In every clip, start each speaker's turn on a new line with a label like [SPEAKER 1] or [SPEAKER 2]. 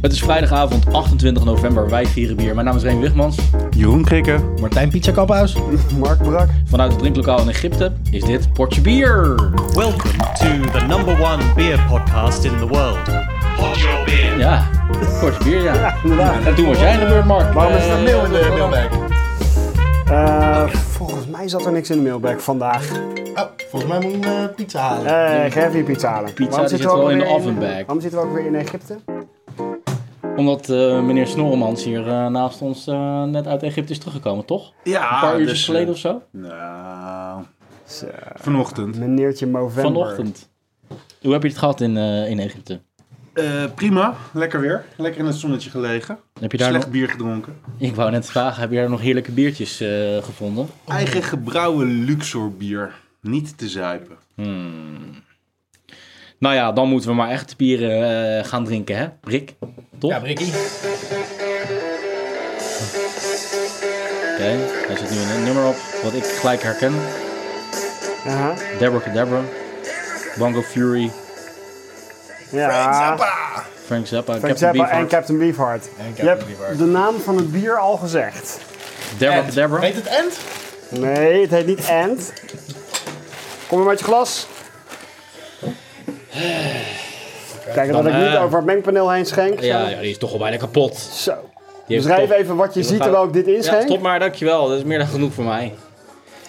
[SPEAKER 1] Het is vrijdagavond 28 november. Wij vieren bier. Mijn naam is Reen Wigmans.
[SPEAKER 2] Jeroen Krikke.
[SPEAKER 3] Martijn Pizza Kaphuis.
[SPEAKER 2] Mark Brak.
[SPEAKER 1] Vanuit het drinklokaal in Egypte is dit Portje Bier.
[SPEAKER 4] Welcome to the number one beer podcast in the world. Pod your beer.
[SPEAKER 1] Ja, Portje Bier, ja.
[SPEAKER 2] inderdaad.
[SPEAKER 1] En toen was jij in de beurt, Mark.
[SPEAKER 3] Waarom is er
[SPEAKER 1] Eh,
[SPEAKER 3] een mail in de mailbag?
[SPEAKER 2] Eh, volgens mij zat er niks in de mailbag vandaag.
[SPEAKER 3] Oh, volgens mij moet ik een pizza halen.
[SPEAKER 2] Eh, ik ga even je pizza halen.
[SPEAKER 1] Pizza,
[SPEAKER 2] Waarom
[SPEAKER 1] die
[SPEAKER 2] zitten we
[SPEAKER 1] zit wel in de
[SPEAKER 2] alweer
[SPEAKER 1] ovenbag.
[SPEAKER 2] Waarom zitten we ook weer in Egypte?
[SPEAKER 1] Omdat eh, meneer Snorremans hier eh, naast ons eh, net uit Egypte is teruggekomen, toch?
[SPEAKER 5] Ja,
[SPEAKER 1] Een paar
[SPEAKER 3] Ah,
[SPEAKER 1] uurtjes
[SPEAKER 5] dus,
[SPEAKER 1] geleden
[SPEAKER 5] eh,
[SPEAKER 1] of zo?
[SPEAKER 5] Nou,
[SPEAKER 2] Zo,
[SPEAKER 5] vanochtend.
[SPEAKER 2] Dus, eh, Meneertje Movember.
[SPEAKER 1] Vanochtend. Hoe heb je het gehad in, eh, in Egypte?
[SPEAKER 5] Eh, prima, lekker weer. Lekker in het zonnetje gelegen.
[SPEAKER 1] Heb je daar
[SPEAKER 5] Slecht
[SPEAKER 1] nog...
[SPEAKER 5] bier gedronken.
[SPEAKER 1] Ik wou net vragen, heb je daar nog heerlijke biertjes eh, gevonden?
[SPEAKER 5] Eigen gebrouwen Luxor bier. Niet te zuipen.
[SPEAKER 1] Nou ja, dan moeten we maar echt bieren eh, gaan drinken, hè? Brik, toch?
[SPEAKER 3] Ja, Brikkie.
[SPEAKER 1] Oké, hij zet nu een nummer op wat ik gelijk herken.
[SPEAKER 2] Aha.
[SPEAKER 1] Deborah Cadabra, Bongo Fury,
[SPEAKER 2] Ja,
[SPEAKER 1] Frank Zappa,
[SPEAKER 2] Frank
[SPEAKER 1] Captain
[SPEAKER 2] Zappa en
[SPEAKER 1] Beefheart.
[SPEAKER 2] Captain Beefheart.
[SPEAKER 3] Captain
[SPEAKER 2] je hebt
[SPEAKER 3] Beefheart.
[SPEAKER 2] de naam van het bier al gezegd.
[SPEAKER 1] Deborah Cadabra.
[SPEAKER 3] Heet het End?
[SPEAKER 2] Nee, het heet niet End. Kom maar met je glas. Kijk, dat ik niet
[SPEAKER 1] eh,
[SPEAKER 2] over het mengpaneel heen schenk.
[SPEAKER 1] Ja, ja, die is toch al bijna kapot.
[SPEAKER 2] Zo.
[SPEAKER 1] Die heeft
[SPEAKER 2] Beschrijf
[SPEAKER 1] toch-
[SPEAKER 2] even wat je
[SPEAKER 1] Ja, we
[SPEAKER 2] ziet
[SPEAKER 1] gaan-
[SPEAKER 2] terwijl ik dit
[SPEAKER 1] Ja,
[SPEAKER 2] inschenk.
[SPEAKER 1] stop maar, dankjewel. Dat is meer dan genoeg voor mij.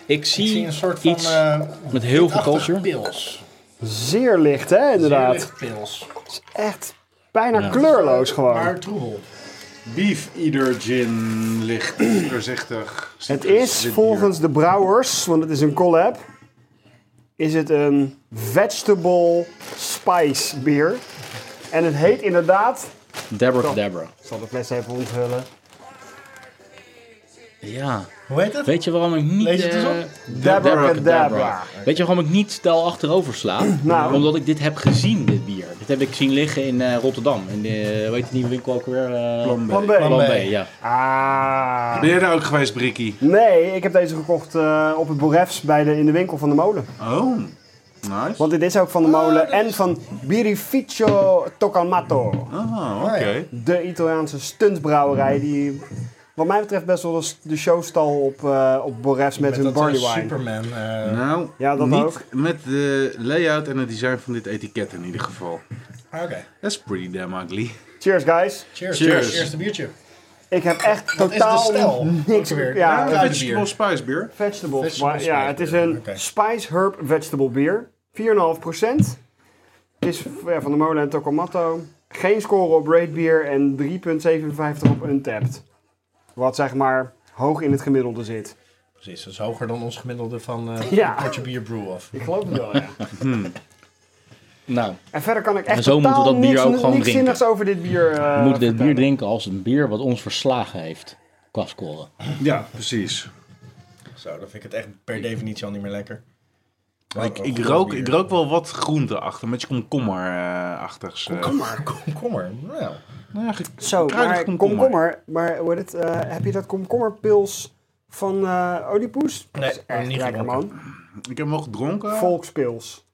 [SPEAKER 1] Ik zie,
[SPEAKER 3] Ik zie een soort van...
[SPEAKER 1] iets
[SPEAKER 3] eh,
[SPEAKER 1] met heel veel
[SPEAKER 3] witachtig
[SPEAKER 1] culture.
[SPEAKER 3] Pils.
[SPEAKER 2] Zeer licht, hè, inderdaad.
[SPEAKER 3] Zeer licht pils.
[SPEAKER 2] Echt bijna kleurloos gewoon.
[SPEAKER 3] Maar troebel.
[SPEAKER 5] Beef Eater Gin licht doorzichtig.
[SPEAKER 2] het
[SPEAKER 5] Dit
[SPEAKER 2] is
[SPEAKER 5] bier.
[SPEAKER 2] volgens de brouwers, want het is een collab, is het een vegetable spice bier. En het heet inderdaad,
[SPEAKER 1] Deborah Cadabra.
[SPEAKER 2] ik zal de fles even onthullen,
[SPEAKER 1] Ja.
[SPEAKER 3] Hoe heet het?
[SPEAKER 1] Weet je waarom ik niet...
[SPEAKER 3] Lees het eens
[SPEAKER 1] eh,
[SPEAKER 3] op.
[SPEAKER 2] Deborah.
[SPEAKER 1] Weet je waarom ik niet stel achterover sla?
[SPEAKER 2] Nou.
[SPEAKER 1] Omdat ik dit heb gezien, dit bier. Dit heb ik zien liggen in eh, Rotterdam. In de, weet je die winkel ook weer? eh,
[SPEAKER 5] Plan B.
[SPEAKER 2] Plan B.
[SPEAKER 1] Plan
[SPEAKER 3] B.
[SPEAKER 1] B, ja.
[SPEAKER 2] Ah.
[SPEAKER 5] Ben jij daar ook geweest, Brikkie?
[SPEAKER 2] Nee, ik heb deze gekocht eh, op het Borefs bij de, in de winkel van de molen.
[SPEAKER 5] Oh, nice.
[SPEAKER 2] Want dit is ook van de molen en van Birrificio Toccamato.
[SPEAKER 5] Ah, oké.
[SPEAKER 2] de Italiaanse stuntbrouwerij die wat mij betreft best wel de- de showstal op, eh op Borrefs met, hun
[SPEAKER 3] dat
[SPEAKER 2] barley
[SPEAKER 3] eh,
[SPEAKER 2] wine.
[SPEAKER 3] Superman. eh,
[SPEAKER 5] Nou,
[SPEAKER 2] Ja, dat
[SPEAKER 5] niet
[SPEAKER 2] ook.
[SPEAKER 5] met de layout en het design van dit etiket in ieder geval.
[SPEAKER 3] Ah, Oké,
[SPEAKER 5] That's pretty damn ugly.
[SPEAKER 2] Cheers guys.
[SPEAKER 3] cheers.
[SPEAKER 5] Cheers.
[SPEAKER 3] Cheers. Eerste biertje.
[SPEAKER 2] Ik heb echt
[SPEAKER 3] Wat is de
[SPEAKER 2] totaal
[SPEAKER 3] stijl?
[SPEAKER 2] niks
[SPEAKER 3] Ook weer.
[SPEAKER 2] Ja,
[SPEAKER 3] Ja,
[SPEAKER 2] vegetables.
[SPEAKER 5] Vegetable spice beer.
[SPEAKER 3] Vegetable
[SPEAKER 2] maar, ja,
[SPEAKER 3] spice
[SPEAKER 2] het is
[SPEAKER 3] beer.
[SPEAKER 2] een
[SPEAKER 3] Oké.
[SPEAKER 2] spice herb vegetable bier. 4,5%. Het is ja, van de molen en Tokomato. Geen score op Raid Beer en 3,57 op Untapped. Wat zeg maar hoog in het gemiddelde zit.
[SPEAKER 3] Precies, dat is hoger dan ons gemiddelde van eh
[SPEAKER 2] Ja.
[SPEAKER 3] Portje Bier Brew Off.
[SPEAKER 2] Ik geloof het wel, ja.
[SPEAKER 1] Nou,
[SPEAKER 2] En verder kan ik echt
[SPEAKER 1] En zo moeten we
[SPEAKER 2] totaal
[SPEAKER 1] dat bier
[SPEAKER 2] niks,
[SPEAKER 1] ook gewoon
[SPEAKER 2] niks
[SPEAKER 1] drinken.
[SPEAKER 2] zinnigs over dit bier eh,
[SPEAKER 1] we moeten dit bier
[SPEAKER 2] vertellen.
[SPEAKER 1] drinken als een bier wat ons verslagen heeft. Qua scoren.
[SPEAKER 5] Ja, precies.
[SPEAKER 3] Zo, dan vind ik het echt per definitie al niet meer lekker. Maar
[SPEAKER 5] Ik,
[SPEAKER 3] wel
[SPEAKER 5] ik,
[SPEAKER 3] goed
[SPEAKER 5] rook,
[SPEAKER 3] bier.
[SPEAKER 5] ik rook wel wat groente achter, met je komkommer-achtigs. eh.
[SPEAKER 3] Kom maar, kom, kom maar. Nou,
[SPEAKER 5] nou ja, ge-
[SPEAKER 2] Zo,
[SPEAKER 5] kruidig
[SPEAKER 2] maar komkommer. maar hoe heet het, eh, heb je dat komkommerpils van eh Oedipus?
[SPEAKER 3] Nee,
[SPEAKER 2] Dat is echt
[SPEAKER 3] niet
[SPEAKER 2] lekker
[SPEAKER 3] gedronken.
[SPEAKER 2] man.
[SPEAKER 5] Ik heb hem wel gedronken.
[SPEAKER 2] Volkspils.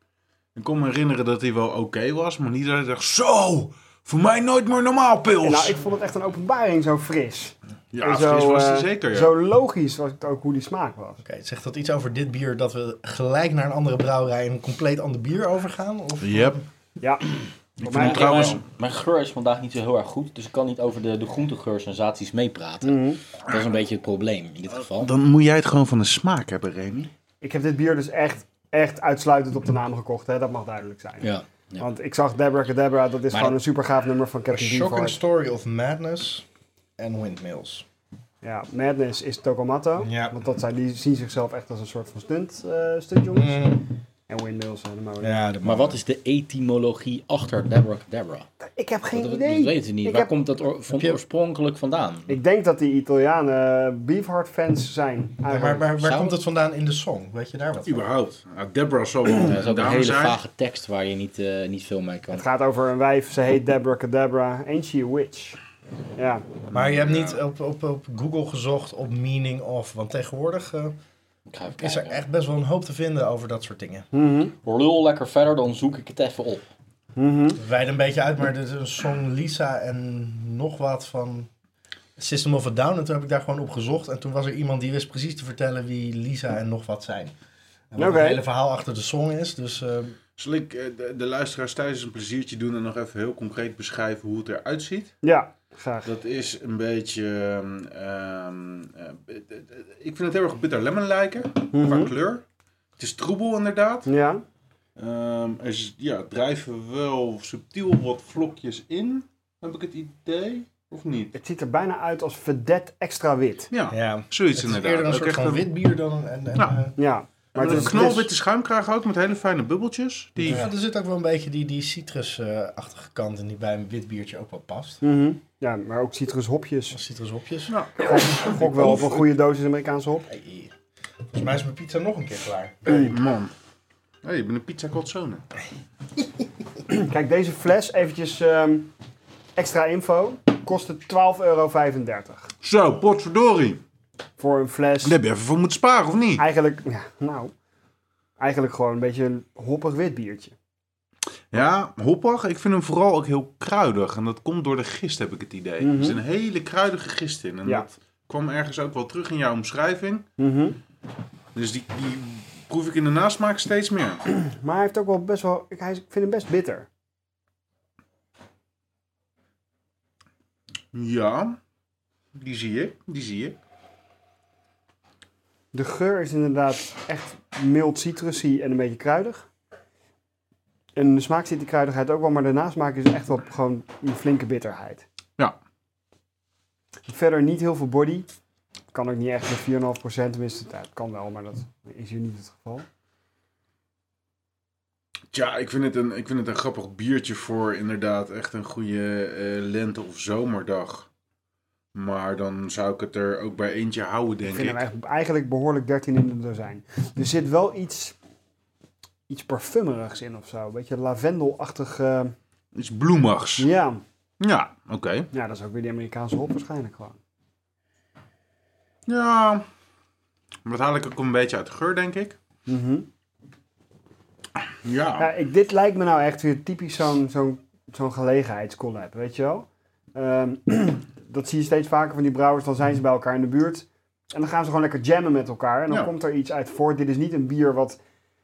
[SPEAKER 5] Ik kon me herinneren dat hij wel oké was, maar niet dat ik dacht... Zo, voor mij nooit meer normaal pils.
[SPEAKER 2] Nou, ik vond het echt een openbaring, zo fris.
[SPEAKER 5] ja,
[SPEAKER 2] En
[SPEAKER 5] fris was hij
[SPEAKER 2] eh,
[SPEAKER 5] zeker, ja.
[SPEAKER 2] Zo logisch was het ook hoe die smaak was.
[SPEAKER 3] Oké, zegt dat iets over dit bier dat we gelijk naar een andere brouwerij en een compleet ander bier overgaan? Of
[SPEAKER 5] Yep.
[SPEAKER 2] Ja,
[SPEAKER 5] Ik
[SPEAKER 2] mij-
[SPEAKER 5] vind hem trouwens...
[SPEAKER 1] Mijn, mijn geur is vandaag niet zo heel erg goed. Dus ik kan niet over de, de groentegeursensaties meepraten.
[SPEAKER 2] Mhm.
[SPEAKER 1] Dat is een beetje het probleem in dit geval.
[SPEAKER 5] Dan moet jij het gewoon van de smaak hebben, Remy.
[SPEAKER 2] ik heb dit bier dus echt, echt uitsluitend op de naam gekocht, hè. dat mag duidelijk zijn.
[SPEAKER 1] Ja. ja.
[SPEAKER 2] Want ik zag Deborah Cadabra, dat is
[SPEAKER 1] Maar-
[SPEAKER 2] gewoon een super gaaf nummer van Captain
[SPEAKER 3] Shocking
[SPEAKER 2] Beefheart.
[SPEAKER 3] Story of Madness en Windmills.
[SPEAKER 2] Ja, Madness is Tokomato.
[SPEAKER 3] Ja.
[SPEAKER 2] Want dat zijn, die zien zichzelf echt als een soort van stunt, eh stuntjongens. En windmills zijn de molen.
[SPEAKER 3] Mhm. Ja, de
[SPEAKER 1] Maar wat is de etymologie achter Deborah Cadabra?
[SPEAKER 2] Ik heb geen
[SPEAKER 1] Dat, dat
[SPEAKER 2] idee.
[SPEAKER 1] weten we niet.
[SPEAKER 2] Ik,
[SPEAKER 1] Waar
[SPEAKER 2] heb-
[SPEAKER 1] komt dat oor- van
[SPEAKER 3] je-
[SPEAKER 1] oorspronkelijk vandaan?
[SPEAKER 2] ik denk dat die Italianen Beefheart-fans zijn.
[SPEAKER 3] Maar,
[SPEAKER 2] eigenlijk.
[SPEAKER 3] maar waar
[SPEAKER 1] Zou-
[SPEAKER 3] komt het vandaan in de song? Weet je daar wat van?
[SPEAKER 5] Überhaupt. Nou, Deborah zal
[SPEAKER 1] Ja, dat is
[SPEAKER 5] wel
[SPEAKER 1] ook een
[SPEAKER 5] down
[SPEAKER 1] hele
[SPEAKER 5] zijn.
[SPEAKER 1] vage tekst waar je niet, eh, niet veel mee kan.
[SPEAKER 2] Het gaat over een wijf, ze heet Deborah Cadabra. Ain't she a witch? Ja,
[SPEAKER 3] Maar je hebt niet op, op, op Google gezocht op meaning of, want tegenwoordig eh,
[SPEAKER 1] Ik ga even
[SPEAKER 3] is er
[SPEAKER 1] kijken.
[SPEAKER 3] echt best wel een hoop te vinden over dat soort dingen.
[SPEAKER 1] Lul lekker verder, dan zoek ik het even op.
[SPEAKER 2] Mhm.
[SPEAKER 3] Wijden een beetje uit, maar er is een song Lisa en nog wat van System of a Down. En toen heb ik daar gewoon op gezocht. En toen was er iemand die wist precies te vertellen wie Lisa en nog wat zijn. En wat
[SPEAKER 2] Oké.
[SPEAKER 3] het hele verhaal achter de song is. Dus eh,
[SPEAKER 5] Zal ik eh, de, de luisteraars thuis een pleziertje doen en nog even heel concreet beschrijven hoe het eruit ziet?
[SPEAKER 2] Ja, graag.
[SPEAKER 5] Dat is een beetje. ehm, ehm, eh, b- d- d- ik vind het heel erg bitter lemon lijken qua kleur. Het is troebel inderdaad.
[SPEAKER 2] Ja,
[SPEAKER 5] Ehm, er is, ja, drijven wel subtiel wat vlokjes in, heb ik het idee, of niet?
[SPEAKER 2] het ziet er bijna uit als vedette extra wit.
[SPEAKER 5] Ja,
[SPEAKER 3] ja,
[SPEAKER 5] zoiets
[SPEAKER 3] het is
[SPEAKER 5] inderdaad.
[SPEAKER 3] eerder een
[SPEAKER 5] Ook
[SPEAKER 3] soort
[SPEAKER 5] echt
[SPEAKER 3] van wit bier dan een... En, en,
[SPEAKER 5] Ja.
[SPEAKER 3] eh,
[SPEAKER 2] Ja,
[SPEAKER 5] Maar
[SPEAKER 2] het
[SPEAKER 5] een
[SPEAKER 2] is-
[SPEAKER 5] knalwitte schuim krijgen ook met hele fijne bubbeltjes. Die,
[SPEAKER 3] ja, er zit ook wel een beetje die, die citrusachtige kant in die bij een wit biertje ook wel past.
[SPEAKER 2] Mhm. Ja, maar ook citrushopjes.
[SPEAKER 3] Als citrushopjes.
[SPEAKER 5] Nou,
[SPEAKER 2] Ik gok wel op een goede dosis Amerikaanse hop.
[SPEAKER 3] Hey. Volgens mij is mijn pizza nog een keer klaar.
[SPEAKER 5] hey, man. Hé, hey, ik ben een pizza calzone.
[SPEAKER 2] Kijk, deze fles, eventjes ehm, extra info, kostte 12,35 euro.
[SPEAKER 5] Zo, potverdorie.
[SPEAKER 2] Voor een fles,
[SPEAKER 5] Daar heb je even voor moeten sparen, of niet?
[SPEAKER 2] eigenlijk, ja, nou, eigenlijk gewoon een beetje een hoppig wit biertje.
[SPEAKER 5] Ja, hoppig. Ik vind hem vooral ook heel kruidig. En dat komt door de gist, heb ik het idee. Er zit een hele kruidige gist in. En
[SPEAKER 2] Mhm. Ja.
[SPEAKER 5] dat kwam ergens ook wel terug in jouw omschrijving.
[SPEAKER 2] Mhm.
[SPEAKER 5] Dus die, die proef ik in de nasmaak steeds meer.
[SPEAKER 2] Maar hij heeft ook wel best wel, ik, hij is- ik vind hem best bitter.
[SPEAKER 5] Ja, die zie ik. Die zie ik.
[SPEAKER 2] De geur is inderdaad echt mild citrusy en een beetje kruidig. En in de smaak zit die kruidigheid ook wel, maar de nasmaak is echt wel gewoon een flinke bitterheid.
[SPEAKER 5] Ja.
[SPEAKER 2] Verder niet heel veel body. Kan ook niet echt met 4,5%, tenminste, ja, het kan wel, maar dat is hier niet het geval.
[SPEAKER 5] Tja, ik vind, het een, ik vind het een grappig biertje voor inderdaad echt een goede eh, lente- of zomerdag. Maar dan zou ik het er ook bij eentje houden,
[SPEAKER 2] Ik
[SPEAKER 5] denk
[SPEAKER 2] vind hem
[SPEAKER 5] ik.
[SPEAKER 2] eigenlijk- eigenlijk behoorlijk 13 in de dozijn. Er zit wel iets, iets parfumerigs in of zo. Een beetje lavendelachtig. eh,
[SPEAKER 5] Iets bloemigs.
[SPEAKER 2] ja.
[SPEAKER 5] Ja, oké.
[SPEAKER 2] ja, dat is ook weer die Amerikaanse hop waarschijnlijk gewoon.
[SPEAKER 5] Ja, maar dat haal ik ook een beetje uit de geur, denk ik.
[SPEAKER 2] Mhm.
[SPEAKER 5] Ja.
[SPEAKER 2] Ja, ik, dit lijkt me nou echt weer typisch zo'n zo'n zo'n gelegenheidscollab, weet je wel? Ehm, dat zie je steeds vaker van die brouwers, dan zijn ze bij elkaar in de buurt. En dan gaan ze gewoon lekker jammen met elkaar. En dan
[SPEAKER 5] Ja.
[SPEAKER 2] komt er iets uit voort. Dit is niet een bier wat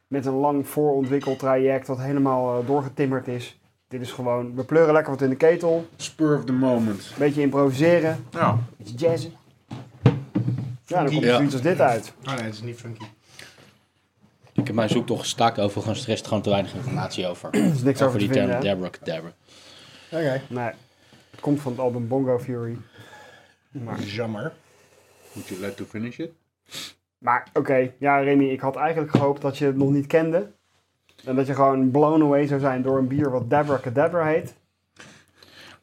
[SPEAKER 2] met een lang voorontwikkeld traject, wat helemaal eh, doorgetimmerd is. Dit is gewoon, we pleuren lekker wat in de ketel, een
[SPEAKER 5] Spur of the moment.
[SPEAKER 2] beetje improviseren,
[SPEAKER 5] Ja.
[SPEAKER 2] iets jazzen. Ja, dan komt er
[SPEAKER 1] Ja.
[SPEAKER 2] zoiets als dit uit.
[SPEAKER 3] Ah nee, het is niet funky.
[SPEAKER 1] Ik heb mijn zoektocht gestaakt over gewoon stress, gewoon te weinig informatie over.
[SPEAKER 2] Er is niks over
[SPEAKER 1] over
[SPEAKER 2] te
[SPEAKER 1] die
[SPEAKER 2] vinden.
[SPEAKER 1] term
[SPEAKER 2] hè?
[SPEAKER 1] Deborah Cadabra.
[SPEAKER 3] Oké,
[SPEAKER 2] Nee, het komt van het album Bongo Fury. Maar
[SPEAKER 3] jammer.
[SPEAKER 5] Moet je let to finish it?
[SPEAKER 2] Maar oké, ja Remy, ik had eigenlijk gehoopt dat je het nog niet kende. En dat je gewoon blown away zou zijn door een bier wat Dabra Cadabra heet.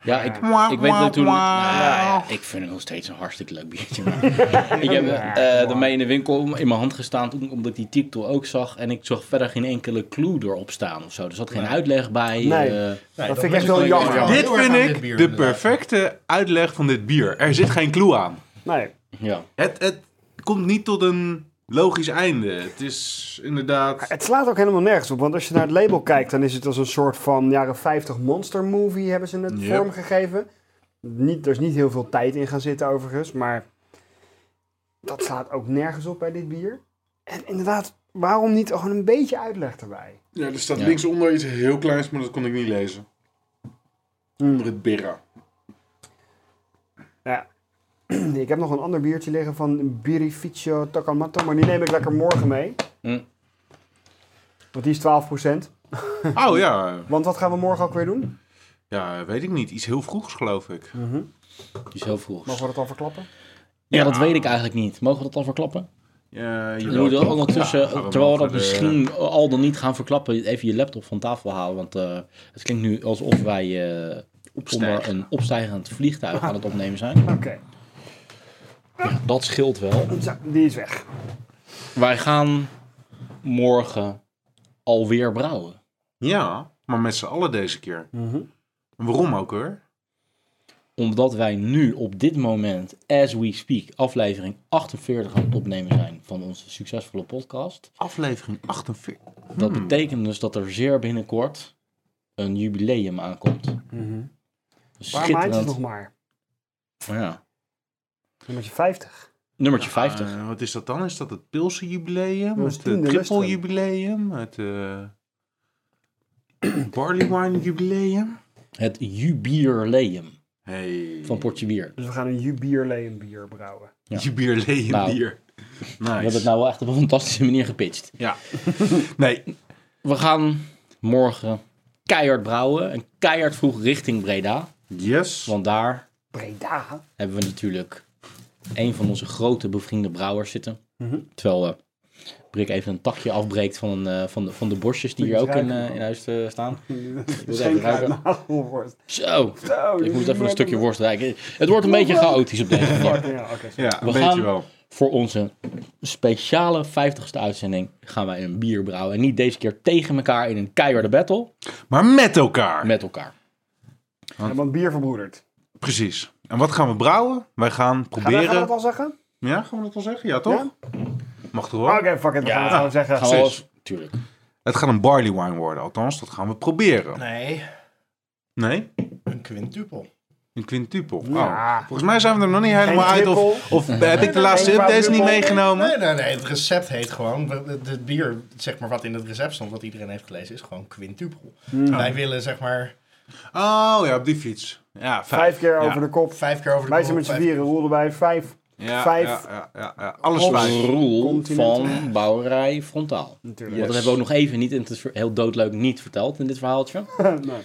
[SPEAKER 1] Ja, ik,
[SPEAKER 5] Mwah,
[SPEAKER 1] ik weet
[SPEAKER 5] mwah,
[SPEAKER 1] natuurlijk...
[SPEAKER 5] mwah.
[SPEAKER 1] Nou, ik vind het nog steeds een hartstikke leuk biertje. maar ik heb eh ermee in de winkel in mijn hand gestaan toen, omdat ik die titel ook zag. En ik zag verder geen enkele clue erop staan of zo. Er zat geen uitleg bij.
[SPEAKER 2] Nee.
[SPEAKER 1] eh,
[SPEAKER 2] Dat vind ik echt wel jammer. Ja,
[SPEAKER 5] dit vind ik de perfecte uitleg van dit bier. Er zit geen clue aan.
[SPEAKER 2] Nee,
[SPEAKER 1] ja.
[SPEAKER 5] Het, het komt niet tot een logisch einde. Het is inderdaad...
[SPEAKER 2] het slaat ook helemaal nergens op. Want als je naar het label kijkt, dan is het als een soort van jaren 50 monster movie hebben ze het
[SPEAKER 5] Yep.
[SPEAKER 2] vormgegeven. Niet, er is niet heel veel tijd in gaan zitten overigens, maar dat slaat ook nergens op bij dit bier. En inderdaad, waarom niet gewoon een beetje uitleg erbij?
[SPEAKER 5] Ja, er staat
[SPEAKER 1] Ja.
[SPEAKER 5] linksonder iets heel kleins, maar dat kon ik niet lezen. Onder het birra.
[SPEAKER 2] Ja. Ik heb nog een ander biertje liggen van Birrificio Takamatto, maar die neem ik lekker morgen mee.
[SPEAKER 1] Mm.
[SPEAKER 2] Want die is 12%.
[SPEAKER 5] Oh ja.
[SPEAKER 2] Want wat gaan we morgen ook weer doen?
[SPEAKER 5] Ja, weet ik niet. Iets heel vroegs, geloof ik.
[SPEAKER 1] Die is heel vroeg.
[SPEAKER 2] Mogen we dat al verklappen?
[SPEAKER 1] Ja, dat weet ik eigenlijk niet. Mogen we dat al verklappen?
[SPEAKER 5] Ja,
[SPEAKER 1] Je moet wel ondertussen, eh,
[SPEAKER 5] Ja, gaan we
[SPEAKER 1] terwijl we
[SPEAKER 5] wel
[SPEAKER 1] dat
[SPEAKER 5] voor de-
[SPEAKER 1] misschien al dan niet gaan verklappen, even je laptop van tafel halen. Want eh, het klinkt nu alsof wij eh, onder
[SPEAKER 5] Opstijgen.
[SPEAKER 1] een opstijgend vliegtuig aan het opnemen zijn.
[SPEAKER 2] Oké,
[SPEAKER 1] Dat scheelt wel.
[SPEAKER 2] Zo, die is weg.
[SPEAKER 1] Wij gaan morgen alweer brouwen.
[SPEAKER 5] Ja, maar met z'n allen deze keer.
[SPEAKER 1] Mhm.
[SPEAKER 5] En Waarom ook hoor?
[SPEAKER 1] Omdat wij nu op dit moment, as we speak, aflevering 48 aan het opnemen zijn van onze succesvolle podcast.
[SPEAKER 5] Aflevering 48.
[SPEAKER 1] Dat betekent dus dat er zeer binnenkort eh, een jubileum aankomt. Dus
[SPEAKER 2] Paar maandjes
[SPEAKER 1] schitterend.
[SPEAKER 2] nog maar.
[SPEAKER 1] Ja.
[SPEAKER 2] Nummertje 50.
[SPEAKER 1] Nummertje 50.
[SPEAKER 5] Eh, wat is dat dan? Is dat het Pilsen-jubileum?
[SPEAKER 2] Dat is
[SPEAKER 5] Het
[SPEAKER 2] tiende
[SPEAKER 5] Triple-jubileum? Het eh, Barley Wine-jubileum?
[SPEAKER 1] Het jubileum
[SPEAKER 5] Hey.
[SPEAKER 1] van Portje Bier.
[SPEAKER 2] Dus we gaan een jubierleum bier brouwen.
[SPEAKER 1] Ja.
[SPEAKER 5] Jubileum
[SPEAKER 1] Nou.
[SPEAKER 5] bier.
[SPEAKER 1] We
[SPEAKER 5] Nice.
[SPEAKER 1] hebben het nou wel echt op een fantastische manier gepitcht.
[SPEAKER 5] Ja. nee.
[SPEAKER 1] We gaan morgen keihard brouwen. En keihard vroeg richting Breda.
[SPEAKER 5] Yes.
[SPEAKER 1] Want daar
[SPEAKER 2] Breda?
[SPEAKER 1] hebben we natuurlijk een van onze grote bevriende brouwers zitten.
[SPEAKER 2] Mhm.
[SPEAKER 1] Terwijl eh Brik even een takje afbreekt van, eh, van, de, van de borstjes die
[SPEAKER 2] Moet
[SPEAKER 1] hier
[SPEAKER 2] je
[SPEAKER 1] ook
[SPEAKER 2] het
[SPEAKER 1] in,
[SPEAKER 2] ruiken
[SPEAKER 1] eh,
[SPEAKER 2] dan?
[SPEAKER 1] in huis eh, staan.
[SPEAKER 2] Dat
[SPEAKER 1] wil
[SPEAKER 2] is
[SPEAKER 1] even
[SPEAKER 2] geen
[SPEAKER 1] ruiken.
[SPEAKER 2] kruidnagelworst.
[SPEAKER 1] Zo,
[SPEAKER 2] Zo,
[SPEAKER 1] ik
[SPEAKER 2] dit
[SPEAKER 1] moet
[SPEAKER 2] is
[SPEAKER 1] even een
[SPEAKER 2] net
[SPEAKER 1] stukje worst rijken. Het wordt een beetje chaotisch op deze manier.
[SPEAKER 2] Ja, oké.
[SPEAKER 5] Ja, een
[SPEAKER 1] We
[SPEAKER 5] beetje
[SPEAKER 1] gaan-
[SPEAKER 5] wel.
[SPEAKER 1] Voor onze speciale 50ste uitzending gaan wij een bier brouwen. En niet deze keer tegen elkaar in een keiharde battle,
[SPEAKER 5] Maar met elkaar.
[SPEAKER 1] met elkaar.
[SPEAKER 2] Ja, Want bier verbroedert.
[SPEAKER 5] Precies. En wat gaan we brouwen? Wij gaan
[SPEAKER 2] Gaan we
[SPEAKER 5] proberen...
[SPEAKER 2] gaan we dat al zeggen?
[SPEAKER 5] Ja, gaan we dat al zeggen? Ja, toch? Mag toch wel?
[SPEAKER 2] Oké, fuck it, we
[SPEAKER 1] Ja.
[SPEAKER 2] gaan het gewoon zeggen.
[SPEAKER 1] Gaan we wel
[SPEAKER 5] precies.
[SPEAKER 1] eens- tuurlijk.
[SPEAKER 5] Het gaat een barley wine worden, althans. Dat gaan we proberen.
[SPEAKER 3] Nee,
[SPEAKER 5] Nee?
[SPEAKER 3] een quintupel.
[SPEAKER 5] Een quintupel. Oh.
[SPEAKER 2] Ja.
[SPEAKER 5] Volgens mij zijn we er nog niet helemaal uit.
[SPEAKER 2] triple.
[SPEAKER 5] Of, of heb ik de laatste
[SPEAKER 2] nee, maar
[SPEAKER 5] updates niet
[SPEAKER 2] triple.
[SPEAKER 5] meegenomen?
[SPEAKER 3] Nee, nee, nee. Het recept heet gewoon. Het bier, zeg maar, wat in het recept stond, wat iedereen heeft gelezen, is gewoon quintupel.
[SPEAKER 2] Hmm.
[SPEAKER 3] Wij willen, zeg maar,
[SPEAKER 5] Oh ja, op die fiets. Ja, vijf,
[SPEAKER 2] Vijf keer
[SPEAKER 5] Ja.
[SPEAKER 2] over de kop.
[SPEAKER 3] vijf keer over de
[SPEAKER 2] Wij zijn met
[SPEAKER 3] kop,
[SPEAKER 2] z'n
[SPEAKER 3] vijf-
[SPEAKER 2] vieren, roel erbij. Vijf.
[SPEAKER 5] Ja,
[SPEAKER 2] Vijf.
[SPEAKER 5] Ja, ja, ja, ja. Alles
[SPEAKER 2] Of-
[SPEAKER 5] vijf.
[SPEAKER 1] Roel
[SPEAKER 2] Continent.
[SPEAKER 1] van Bouwerij Frontaal.
[SPEAKER 2] Natuurlijk.
[SPEAKER 1] Want dat hebben we ook nog even niet, en het is heel doodleuk niet verteld in dit verhaaltje.
[SPEAKER 2] Nee.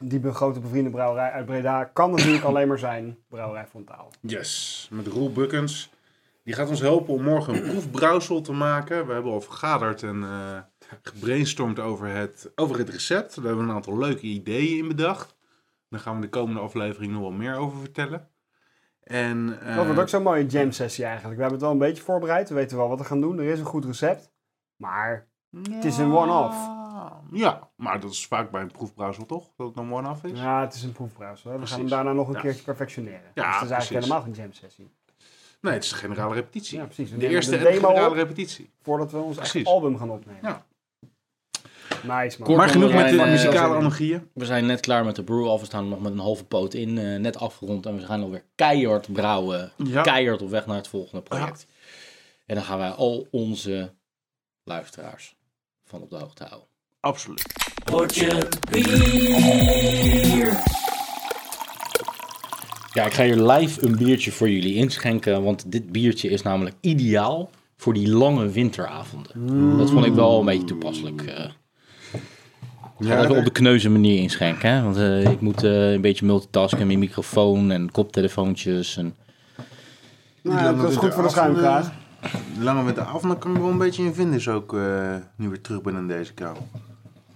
[SPEAKER 2] Die be- grote bevriende brouwerij uit Breda kan natuurlijk alleen maar zijn Brouwerij Frontaal.
[SPEAKER 5] Yes, met Roel Bukkens. Die gaat ons helpen om morgen een proefbrouwsel te maken. We hebben al vergaderd en eh, gebrainstormd over het, over het recept. We hebben een aantal leuke ideeën in bedacht. Daar gaan we de komende aflevering nog wel meer over vertellen. En, eh,
[SPEAKER 2] Dat wordt ook zo'n mooie jam sessie eigenlijk. We hebben het wel een beetje voorbereid. We weten wel wat we gaan doen. Er is een goed recept. Maar het is een one-off.
[SPEAKER 5] Ja, maar dat is vaak bij een proefbrouwsel toch? Dat het een one-off is?
[SPEAKER 2] Ja, het is een proefbrouwsel. hè. We gaan hem
[SPEAKER 5] Precies.
[SPEAKER 2] daarna nog een
[SPEAKER 5] Ja.
[SPEAKER 2] keertje perfectioneren.
[SPEAKER 5] Ja,
[SPEAKER 2] dus het is eigenlijk
[SPEAKER 5] precies.
[SPEAKER 2] helemaal geen jam sessie.
[SPEAKER 5] Nee, het is een generale repetitie.
[SPEAKER 2] Ja, precies. We
[SPEAKER 5] De
[SPEAKER 2] nemen
[SPEAKER 5] eerste
[SPEAKER 2] de
[SPEAKER 5] en de
[SPEAKER 2] demo
[SPEAKER 5] generale
[SPEAKER 2] op.
[SPEAKER 5] repetitie.
[SPEAKER 2] Voordat we ons echt
[SPEAKER 5] Precies.
[SPEAKER 2] album gaan opnemen.
[SPEAKER 5] Ja.
[SPEAKER 2] Nice man.
[SPEAKER 1] Kort-
[SPEAKER 5] Maar genoeg met de
[SPEAKER 1] Eh,
[SPEAKER 2] Nou,
[SPEAKER 5] muzikale analogieën.
[SPEAKER 1] We zijn net klaar met de brew We staan er nog met een halve poot in. eh, net afgerond. En we gaan alweer keihard brouwen.
[SPEAKER 5] Ja.
[SPEAKER 1] Keihard op weg naar het volgende project. En dan gaan wij al onze luisteraars van op de hoogte houden.
[SPEAKER 5] Absoluut.
[SPEAKER 1] Ja, ik ga hier live een biertje voor jullie inschenken. Want dit biertje is namelijk ideaal voor die lange winteravonden. Dat vond ik wel een beetje toepasselijk. eh. Ik ga het even op de kneuze manier inschenken. Hè? Want eh, ik moet eh, een beetje multitasken met microfoon en koptelefoontjes. En...
[SPEAKER 2] Nou, dat is goed voor de schuimkraag.
[SPEAKER 5] Langer met de af, dan kan ik me wel een beetje in vinden. Is ook eh, nu weer terug ben in deze kou.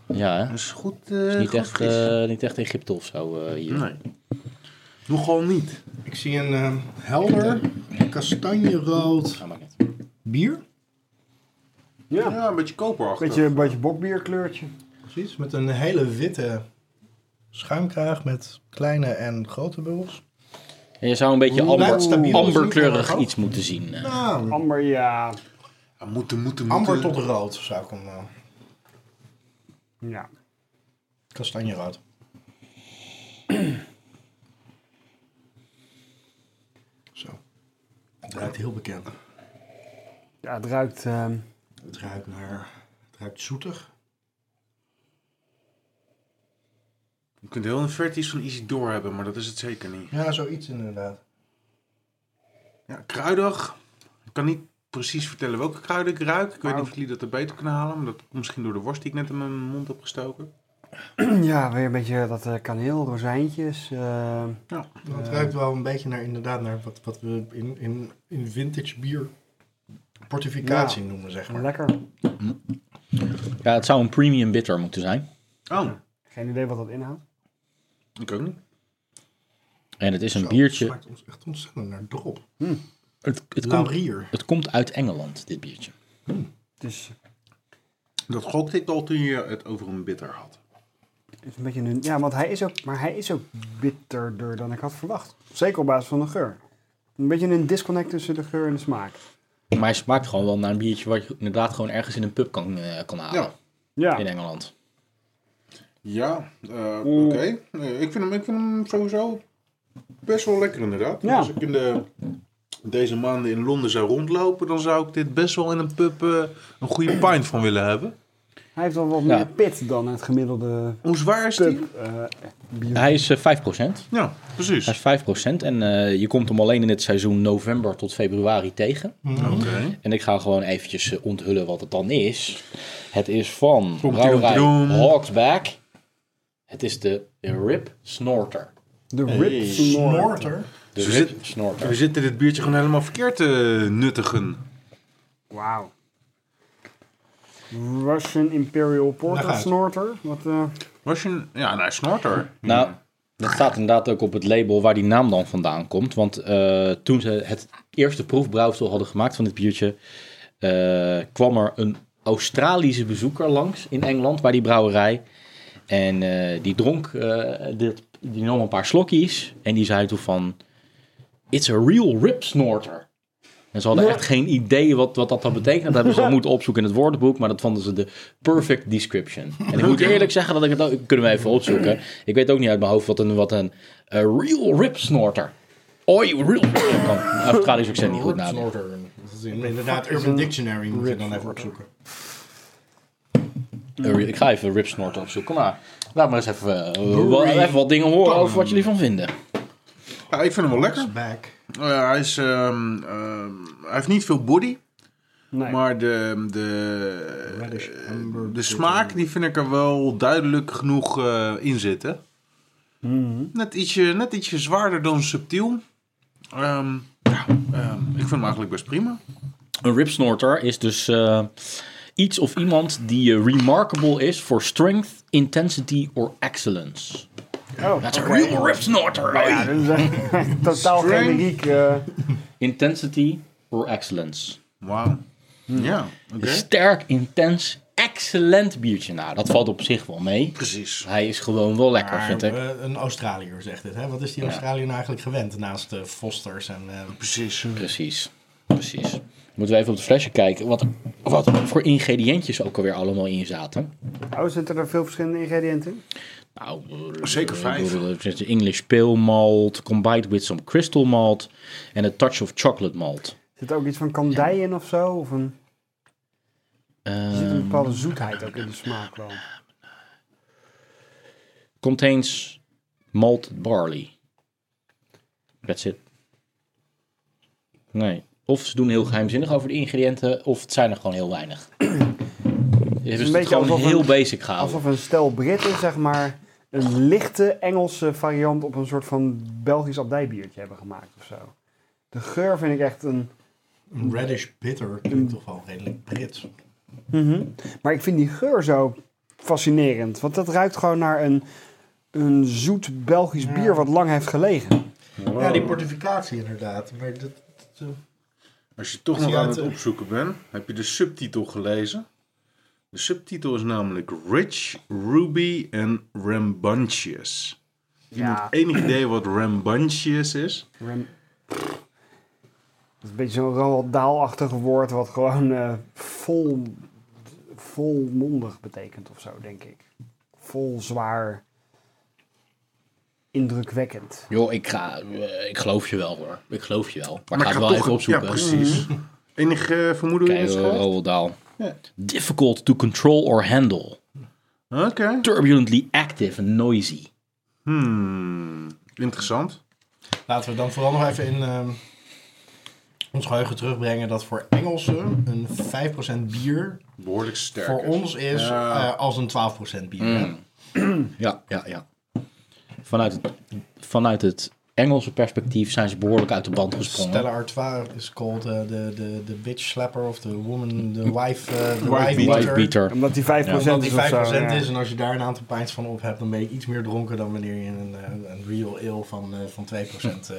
[SPEAKER 1] Ja, hè?
[SPEAKER 5] Dat is goed. eh,
[SPEAKER 1] niet
[SPEAKER 5] goed
[SPEAKER 1] echt,
[SPEAKER 5] fris.
[SPEAKER 1] eh, niet echt Egypte of zo eh, hier.
[SPEAKER 5] Nee. Nogal niet.
[SPEAKER 3] Ik zie een eh, helder, kastanjerood
[SPEAKER 1] Ja, maar niet.
[SPEAKER 3] bier.
[SPEAKER 2] Ja.
[SPEAKER 5] Ja, een beetje koperachtig.
[SPEAKER 2] Beetje, beetje bokbierkleurtje.
[SPEAKER 3] Precies, met een hele witte schuimkraag met kleine en grote bubbels.
[SPEAKER 1] En je zou een beetje
[SPEAKER 3] Hoe laat stabiel is
[SPEAKER 1] amber,
[SPEAKER 3] het niet,
[SPEAKER 1] amberkleurig
[SPEAKER 3] maar ook.
[SPEAKER 1] iets moeten zien. eh.
[SPEAKER 3] Nou,
[SPEAKER 2] Amber, ja.
[SPEAKER 5] Ja, Ah, moeten, moeten, moeten.
[SPEAKER 3] amber tot rood zou ik hem eh,
[SPEAKER 2] ja.
[SPEAKER 3] kastanjerood. Zo. Het ruikt heel bekend.
[SPEAKER 2] Ja, het ruikt... ehm,
[SPEAKER 3] Het ruikt naar... Het ruikt zoetig.
[SPEAKER 5] Je kunt heel een verties van Isidore hebben, maar dat is het zeker niet.
[SPEAKER 3] Ja, zoiets inderdaad.
[SPEAKER 5] Ja, kruidig. Ik kan niet precies vertellen welke kruiden ik ruik. Ik weet niet of jullie dat er beter kunnen halen. Maar dat komt misschien door de worst die ik net in mijn mond heb gestoken.
[SPEAKER 2] ja, weer een beetje dat eh, kaneel, rozijntjes. eh,
[SPEAKER 3] Het ruikt wel een beetje naar inderdaad naar wat, wat we in, in, in vintage bier portificatie noemen, zeg maar.
[SPEAKER 2] lekker.
[SPEAKER 1] Ja, het zou een premium bitter moeten zijn.
[SPEAKER 5] Oh,
[SPEAKER 2] Geen idee wat dat inhoudt.
[SPEAKER 5] ik ook niet.
[SPEAKER 1] En het is een
[SPEAKER 3] Zo, Het
[SPEAKER 1] biertje.
[SPEAKER 3] smaakt ons echt ontzettend naar drop.
[SPEAKER 1] Het, het, komt,
[SPEAKER 3] Laurier.
[SPEAKER 1] het komt uit Engeland, dit biertje.
[SPEAKER 2] Het is,
[SPEAKER 5] Dat gokte ik al toen je het over een bitter had.
[SPEAKER 2] het is een beetje een... Ja, want hij is ook... Maar hij is ook bitterder dan ik had verwacht. Zeker op basis van de geur. Een beetje een disconnect tussen de geur en de smaak.
[SPEAKER 1] Maar hij smaakt gewoon wel naar een biertje wat je inderdaad gewoon ergens in een pub kan, eh, kan halen.
[SPEAKER 5] Ja.
[SPEAKER 2] Ja.
[SPEAKER 1] In Engeland.
[SPEAKER 5] Ja, eh,
[SPEAKER 2] Mm.
[SPEAKER 5] oké. Nee, ik, vind hem- ik vind hem sowieso best wel lekker inderdaad.
[SPEAKER 2] Ja.
[SPEAKER 5] Als ik in de, deze maanden in Londen zou rondlopen, dan zou ik dit best wel in een pub eh, een goede pint van willen hebben.
[SPEAKER 2] Hij heeft wel wat
[SPEAKER 1] Ja.
[SPEAKER 2] meer pit dan het gemiddelde
[SPEAKER 5] Hoe zwaar is die?
[SPEAKER 2] pub. eh, bier.
[SPEAKER 1] Hij is eh, 5%.
[SPEAKER 5] Ja, precies.
[SPEAKER 1] Hij
[SPEAKER 5] Oké.
[SPEAKER 1] is 5% en eh, je komt hem alleen in het seizoen november tot februari tegen. En ik ga gewoon eventjes eh, onthullen wat het dan is. Het is van
[SPEAKER 5] Komt-ie,
[SPEAKER 1] brouwerij
[SPEAKER 5] komt-ie, doem.
[SPEAKER 1] Hawksback. Het is de Rip Snorter.
[SPEAKER 2] De Rip Snort.
[SPEAKER 3] Snorter.
[SPEAKER 1] De
[SPEAKER 5] Zo
[SPEAKER 1] Rip
[SPEAKER 5] zit-
[SPEAKER 1] Snorter.
[SPEAKER 5] We zitten dit biertje gewoon helemaal verkeerd te nuttigen.
[SPEAKER 2] Wauw. Russian Imperial
[SPEAKER 3] Leg
[SPEAKER 2] Porter
[SPEAKER 3] uit.
[SPEAKER 2] Snorter. Wat, eh,
[SPEAKER 5] Was je een... Ja, nou, snorter.
[SPEAKER 1] Nou, dat staat inderdaad ook op het label waar die naam dan vandaan komt. Want eh, toen ze het eerste proefbrouwsel hadden gemaakt van dit biertje, eh, kwam er een Australische bezoeker langs in Engeland bij die brouwerij. En eh, die dronk, eh, dit, die nam een paar slokjes en die zei toen van, it's a real rip snorter. En ze hadden echt geen idee wat, wat dat dan betekent. Dat hebben ze dan moeten opzoeken in het woordenboek. Maar dat vonden ze de perfect description. En ik moet eerlijk zeggen dat ik het ook... Kunnen we even opzoeken. Ik weet ook niet uit mijn hoofd wat een, wat een eh, real rip snorter. Oi, real... Ik kan Australisch accent niet goed nadenken.
[SPEAKER 3] Snorter. Dat is inderdaad Urban Dictionary moet je dan even opzoeken.
[SPEAKER 1] Eh, Ik ga even rip snorter opzoeken. Maar laat maar eens even, eh, wel- even wat dingen horen over wat jullie van vinden.
[SPEAKER 5] Ja, ik vind hem wel lekker.
[SPEAKER 3] Back.
[SPEAKER 5] Eh, hij, is, ehm, ehm, hij heeft niet veel body.
[SPEAKER 2] nee.
[SPEAKER 5] Maar de, de,
[SPEAKER 3] Reddish
[SPEAKER 5] eh,
[SPEAKER 3] amber
[SPEAKER 5] de smaak die vind ik er wel duidelijk genoeg eh, in zitten. Net, ietsje, net ietsje zwaarder dan subtiel. Ehm, ja, ehm, ik vind hem eigenlijk best prima.
[SPEAKER 1] Een rip snorter is dus eh, iets of iemand die eh, remarkable is voor strength, intensity or excellence.
[SPEAKER 2] Oh,
[SPEAKER 1] That's
[SPEAKER 2] oké. Nou
[SPEAKER 1] a real rip snorter.
[SPEAKER 2] Ja, dat is echt totaal
[SPEAKER 5] Strength.
[SPEAKER 2] generiek. eh,
[SPEAKER 1] Intensity or excellence.
[SPEAKER 5] Wauw. Ja, oké.
[SPEAKER 1] Een Sterk, intens, excellent biertje. Nou, dat valt op zich wel mee.
[SPEAKER 5] Precies.
[SPEAKER 1] Hij is gewoon wel lekker,
[SPEAKER 3] Maar,
[SPEAKER 1] Ah, vind ik.
[SPEAKER 3] eh, een Australiër zegt dit. Hè? Wat is die
[SPEAKER 1] Ja.
[SPEAKER 3] Australiër nou eigenlijk gewend naast de Fosters en eh,
[SPEAKER 5] Precies.
[SPEAKER 1] Precies, precies. Moeten we even op het flesje kijken wat, wat voor ingrediëntjes ook alweer allemaal in zaten.
[SPEAKER 2] Oh, zitten er veel verschillende ingrediënten in?
[SPEAKER 1] Nou, eh,
[SPEAKER 5] Zeker
[SPEAKER 1] eh,
[SPEAKER 5] vijf.
[SPEAKER 1] eh, er zit English pale malt, combined with some crystal malt en a touch of chocolate malt.
[SPEAKER 2] Zit er ook iets van kandij in of zo? Of een,
[SPEAKER 1] Eh,
[SPEAKER 2] er zit een bepaalde zoetheid ook in de smaak wel.
[SPEAKER 1] contains malt barley. That's it. Nee. Of ze doen heel geheimzinnig over de ingrediënten, of het zijn er gewoon heel weinig. Ze hebben
[SPEAKER 2] beetje
[SPEAKER 1] het gewoon
[SPEAKER 2] alsof
[SPEAKER 1] heel
[SPEAKER 2] een-
[SPEAKER 1] basic gehouden.
[SPEAKER 2] Alsof een stel Britten, zeg maar, een lichte Engelse variant op een soort van Belgisch abdijbiertje hebben gemaakt of zo. De geur vind ik echt een...
[SPEAKER 3] een Reddish
[SPEAKER 1] Mm.
[SPEAKER 3] Bitter. Klinkt toch wel redelijk Brits.
[SPEAKER 2] Maar ik vind die geur zo fascinerend. Want dat ruikt gewoon naar een, een zoet Belgisch bier wat lang heeft gelegen.
[SPEAKER 3] Ja, die portificatie inderdaad. Maar dat, dat, eh,
[SPEAKER 5] Als je toch
[SPEAKER 3] Als
[SPEAKER 5] nog
[SPEAKER 3] je
[SPEAKER 5] aan
[SPEAKER 3] uit,
[SPEAKER 5] het
[SPEAKER 3] eh,
[SPEAKER 5] opzoeken bent, heb je de subtitel gelezen. De subtitel is namelijk Rich, Ruby en Rambunctious.
[SPEAKER 2] Ja,
[SPEAKER 5] Enig idee wat Rambunctious is?
[SPEAKER 2] Ram- Dat is een beetje zo'n Roald Dahl-achtig woord wat gewoon eh, vol, volmondig betekent of zo, denk ik. Vol, zwaar, indrukwekkend.
[SPEAKER 1] Joh, ik, ga, eh, ik geloof je wel hoor. Ik geloof je wel. Maar, ik ga het
[SPEAKER 5] ik ga
[SPEAKER 1] wel
[SPEAKER 5] toch-
[SPEAKER 1] even opzoeken.
[SPEAKER 5] Ja, precies. Enig eh, vermoeden hoe je
[SPEAKER 1] Kijk,
[SPEAKER 5] het schrijft?
[SPEAKER 1] Roald Dahl.
[SPEAKER 5] Ja.
[SPEAKER 1] Difficult to control or handle.
[SPEAKER 5] Oké.
[SPEAKER 1] oh. Turbulently active and noisy.
[SPEAKER 5] Hmm, interessant.
[SPEAKER 3] Laten we dan vooral nog even in ehm, ons geheugen terugbrengen dat voor Engelsen een 5% bier
[SPEAKER 5] Behoorlijk sterk.
[SPEAKER 3] voor ons is
[SPEAKER 5] Ja.
[SPEAKER 3] eh, als een 12% bier.
[SPEAKER 1] Mm.
[SPEAKER 3] hè?
[SPEAKER 1] Ja, ja, ja. Vanuit het, vanuit het Engelse perspectief zijn ze behoorlijk uit de band gesprongen.
[SPEAKER 3] Stella Artois is called eh, de de de bitch slapper of the woman, the wife, eh, the
[SPEAKER 5] Wife
[SPEAKER 3] wife,
[SPEAKER 1] Wife
[SPEAKER 3] beater.
[SPEAKER 1] beater.
[SPEAKER 2] Omdat die 5%
[SPEAKER 3] Omdat
[SPEAKER 2] is
[SPEAKER 3] die 5%
[SPEAKER 2] of zo. ja.
[SPEAKER 3] is en als je daar een aantal pints van op hebt, dan ben je iets meer dronken dan wanneer je een, eh, een real ale van, eh, van 2% eh,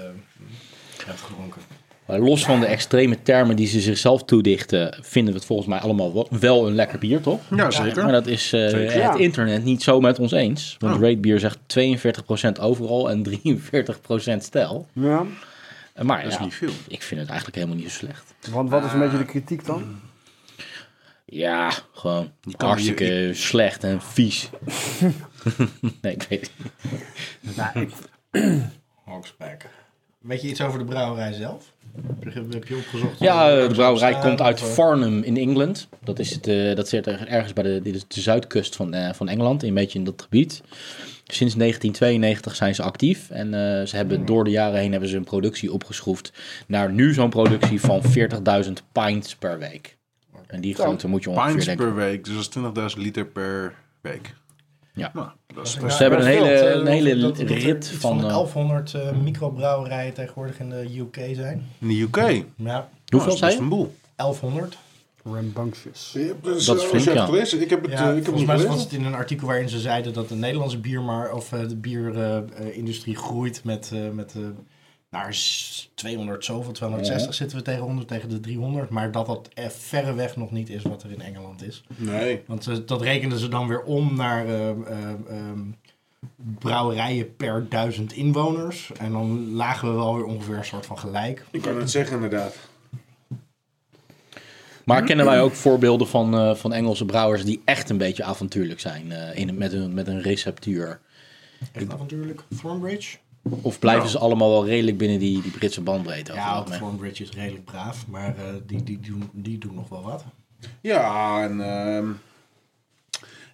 [SPEAKER 3] hebt gedronken.
[SPEAKER 1] Maar Los van de extreme termen die ze zichzelf toedichten, vinden we het volgens mij allemaal wel, wel een lekker bier, toch?
[SPEAKER 5] Ja,
[SPEAKER 1] Maar
[SPEAKER 5] zeker.
[SPEAKER 1] dat is eh,
[SPEAKER 5] Zeker.
[SPEAKER 1] het
[SPEAKER 2] Ja.
[SPEAKER 1] internet niet zo met ons eens. Want
[SPEAKER 5] Oh.
[SPEAKER 1] Rate Beer zegt 42% overal en 43% stijl. Eh,
[SPEAKER 2] Ja,
[SPEAKER 1] Maar
[SPEAKER 5] Dat is
[SPEAKER 1] ja,
[SPEAKER 5] niet veel.
[SPEAKER 1] ik vind het eigenlijk helemaal niet zo slecht.
[SPEAKER 2] want wat is
[SPEAKER 3] Eh,
[SPEAKER 2] een beetje de kritiek dan?
[SPEAKER 1] Ja, gewoon
[SPEAKER 5] kan
[SPEAKER 1] hartstikke slecht en vies. Nee, ik weet het.
[SPEAKER 2] Nou,
[SPEAKER 3] Hawksback. Weet je iets over de brouwerij zelf? Heb je, heb je opgezocht?
[SPEAKER 1] Ja,
[SPEAKER 3] Waar
[SPEAKER 1] eh, de
[SPEAKER 3] ze
[SPEAKER 1] brouwerij
[SPEAKER 3] staan,
[SPEAKER 1] komt uit
[SPEAKER 3] of, eh,
[SPEAKER 1] Farnham in Engeland. Dat, is het, eh, dat zit er- ergens bij de, dit is de zuidkust van, eh, van Engeland, een beetje in dat gebied. Sinds 1992 zijn ze actief en eh, ze hebben
[SPEAKER 5] Hmm.
[SPEAKER 1] door de jaren heen hebben ze hun productie opgeschroefd naar nu zo'n productie van 40.000 pints per week. En die grootte moet je ongeveer
[SPEAKER 5] Pints
[SPEAKER 1] denken.
[SPEAKER 5] per week, dus dat is 20.000 liter per week.
[SPEAKER 1] Ja.
[SPEAKER 5] Nou, dat is
[SPEAKER 3] Ze
[SPEAKER 5] best-
[SPEAKER 1] Ze hebben een hele,
[SPEAKER 3] Eh,
[SPEAKER 1] een hele
[SPEAKER 3] dat- dat er
[SPEAKER 1] rit
[SPEAKER 3] iets
[SPEAKER 1] van... eh,
[SPEAKER 3] 1100 eh, microbrouwerijen tegenwoordig in de UK zijn.
[SPEAKER 5] in de UK. nou,
[SPEAKER 3] Ja,
[SPEAKER 5] dat
[SPEAKER 1] hoeveel
[SPEAKER 5] is
[SPEAKER 1] zijn?
[SPEAKER 5] best
[SPEAKER 1] je?
[SPEAKER 5] een boel.
[SPEAKER 3] 1100.
[SPEAKER 2] Rambunctious.
[SPEAKER 1] Dat is flink, ja.
[SPEAKER 5] Ik heb het,
[SPEAKER 3] dus, eh, Ja,
[SPEAKER 5] eh, ik heb het
[SPEAKER 3] volgens mij was
[SPEAKER 5] gelezen.
[SPEAKER 3] het in een artikel waarin ze zeiden dat de Nederlandse bier maar, of eh, de bierindustrie groeit met, eh, met eh, naar s- 200 zoveel, 260 zitten we tegen 100, tegen de 300. Maar dat dat eh, verreweg nog niet is wat er in Engeland is.
[SPEAKER 5] Nee.
[SPEAKER 3] Want eh, dat rekenden ze dan weer om naar eh, eh, ehm, brouwerijen per duizend inwoners. En dan lagen we wel weer ongeveer een soort van gelijk.
[SPEAKER 5] Ik kan het zeggen, inderdaad.
[SPEAKER 1] Maar kennen wij ook voorbeelden van, eh, van Engelse brouwers die echt een beetje avontuurlijk zijn eh, in, met, hun, met een receptuur?
[SPEAKER 3] Echt avontuurlijk. Thornbridge?
[SPEAKER 1] Of blijven
[SPEAKER 5] Nou.
[SPEAKER 1] ze allemaal wel redelijk binnen die, die Britse bandbreedte? over het
[SPEAKER 3] Ja,
[SPEAKER 1] algemeen?
[SPEAKER 3] Thornbridge is redelijk braaf, maar eh, die, die, doen, die doen nog wel wat.
[SPEAKER 5] Ja, en ehm,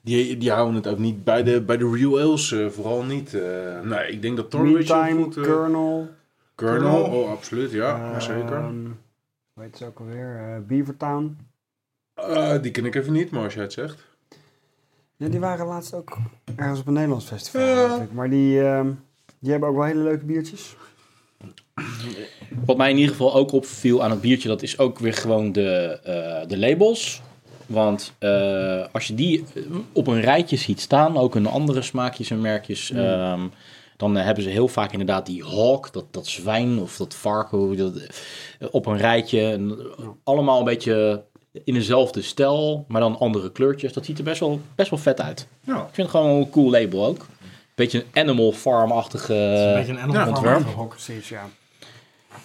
[SPEAKER 5] die, die houden het ook niet bij de, bij de real ales, eh, vooral niet. eh, nee, ik denk dat Thornbridge een
[SPEAKER 2] Meantime,
[SPEAKER 5] goed... eh,
[SPEAKER 2] Colonel.
[SPEAKER 5] Colonel,
[SPEAKER 3] Colonel.
[SPEAKER 5] oh absoluut, ja, ja, zeker.
[SPEAKER 2] Ehm, hoe heet ze ook alweer? Eh, Beavertown.
[SPEAKER 5] Eh, die ken ik even niet, maar als jij het zegt.
[SPEAKER 2] Ja, die waren laatst ook ergens op een Nederlands festival.
[SPEAKER 5] Ja.
[SPEAKER 2] geloof ik. Maar die, ehm, die hebben ook wel hele leuke biertjes.
[SPEAKER 1] Wat mij in ieder geval ook opviel aan het biertje, dat is ook weer gewoon de, eh, de labels. Want eh, als je die eh, op een rijtje ziet staan, ook in andere smaakjes en merkjes,
[SPEAKER 3] Mm.
[SPEAKER 1] ehm, dan eh, hebben ze heel vaak inderdaad die hawk, dat, dat zwijn of dat varken, hoe dat, eh, op een rijtje. En eh, allemaal een beetje in dezelfde stijl, maar dan andere kleurtjes. Dat ziet er best wel, best wel vet uit.
[SPEAKER 5] Ja.
[SPEAKER 1] Ik vind het gewoon een cool label ook. Beetje een animal farm-achtige...
[SPEAKER 3] een beetje een animal
[SPEAKER 5] ja,
[SPEAKER 3] farm
[SPEAKER 1] ontwerp.
[SPEAKER 3] achterhok.
[SPEAKER 2] Precies, ja.
[SPEAKER 3] Zijn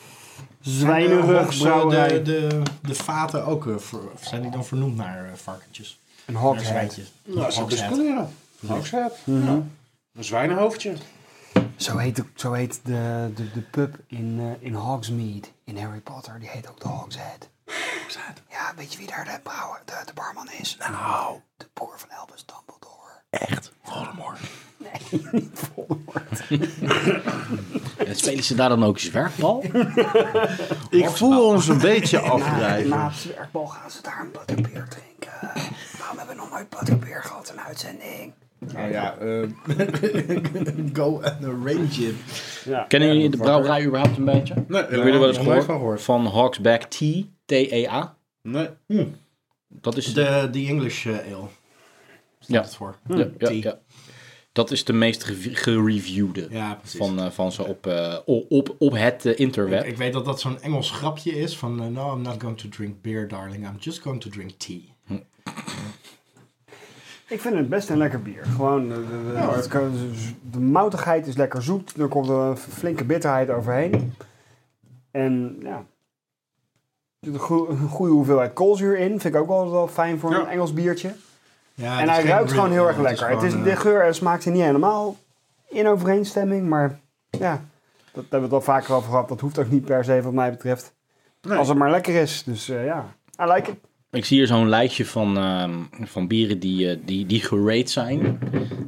[SPEAKER 2] Zwijnenrug,
[SPEAKER 3] de hoksel-
[SPEAKER 2] brouwerij.
[SPEAKER 3] eh, de, de, de vaten ook, eh, ver- of zijn die dan vernoemd naar eh, varkentjes?
[SPEAKER 2] Een
[SPEAKER 3] Naar
[SPEAKER 2] hogshead.
[SPEAKER 3] zwijntjes.
[SPEAKER 5] Nou, dat zou best
[SPEAKER 3] Hogshead.
[SPEAKER 5] kunnen, ja. Hogshead, ja. Een zwijnenhoofdje.
[SPEAKER 2] Zo heet, ook- zo heet de, de, de pub in, eh, in Hogsmeade in Harry Potter. Die heet ook de Hogshead. Ja, weet je wie daar de, brouwer, de, de barman is? Nou. De boer van Elvis Dumbledore.
[SPEAKER 1] En spelen ze daar dan ook zwerfbal?
[SPEAKER 5] Ik voel ons een beetje afdrijven.
[SPEAKER 2] het zwerkbal gaan ze daar een butterbeer drinken. Waarom hebben we nog nooit butterbeer gehad in uitzending?
[SPEAKER 3] Nou ja, eh, go and arrange it.
[SPEAKER 1] Kennen jullie de brouwerij überhaupt een beetje? Hebben
[SPEAKER 5] Nee,
[SPEAKER 1] jullie er wel eens
[SPEAKER 3] nog nooit
[SPEAKER 1] gehoord?
[SPEAKER 3] van gehoord.
[SPEAKER 1] Van Hawksback Tea, T-E-A.
[SPEAKER 5] Nee.
[SPEAKER 1] Dat is,
[SPEAKER 3] De, de English eh, ale. Staat
[SPEAKER 1] Ja.
[SPEAKER 3] het voor.
[SPEAKER 2] Hm.
[SPEAKER 1] ja, ja,
[SPEAKER 3] tea.
[SPEAKER 1] ja. dat is de meest gere- gereviewde
[SPEAKER 3] Ja, precies.
[SPEAKER 1] van, eh, van ze op, eh, o- op, op het eh, interweb.
[SPEAKER 3] Ik, ik weet dat dat zo'n Engels grapje is van... eh, no, I'm not going to drink beer, darling. I'm just going to drink tea.
[SPEAKER 2] Ik vind het best een lekker bier. Gewoon, eh, de, de, het kan- de moutigheid is lekker zoet. Er komt een flinke bitterheid overheen. En ja... Er zit een goe- een goede hoeveelheid koolzuur in. Vind ik ook wel, wel fijn voor een
[SPEAKER 5] Ja.
[SPEAKER 2] Engels biertje.
[SPEAKER 3] Ja, het
[SPEAKER 2] en
[SPEAKER 3] is
[SPEAKER 2] hij
[SPEAKER 3] geen
[SPEAKER 2] ruikt gewoon
[SPEAKER 3] real
[SPEAKER 2] heel erg
[SPEAKER 3] ale,
[SPEAKER 2] lekker. Het is,
[SPEAKER 3] gewoon,
[SPEAKER 2] de
[SPEAKER 3] eh,
[SPEAKER 2] geur en smaak zijn niet helemaal in overeenstemming. Maar ja, dat hebben we het al vaker over gehad. Dat hoeft ook niet per se wat mij betreft.
[SPEAKER 5] Nee.
[SPEAKER 2] Als het maar lekker is. Dus eh, ja, I like it.
[SPEAKER 1] Ik zie hier zo'n lijstje van, ehm, van bieren die, eh, die, die gerate zijn.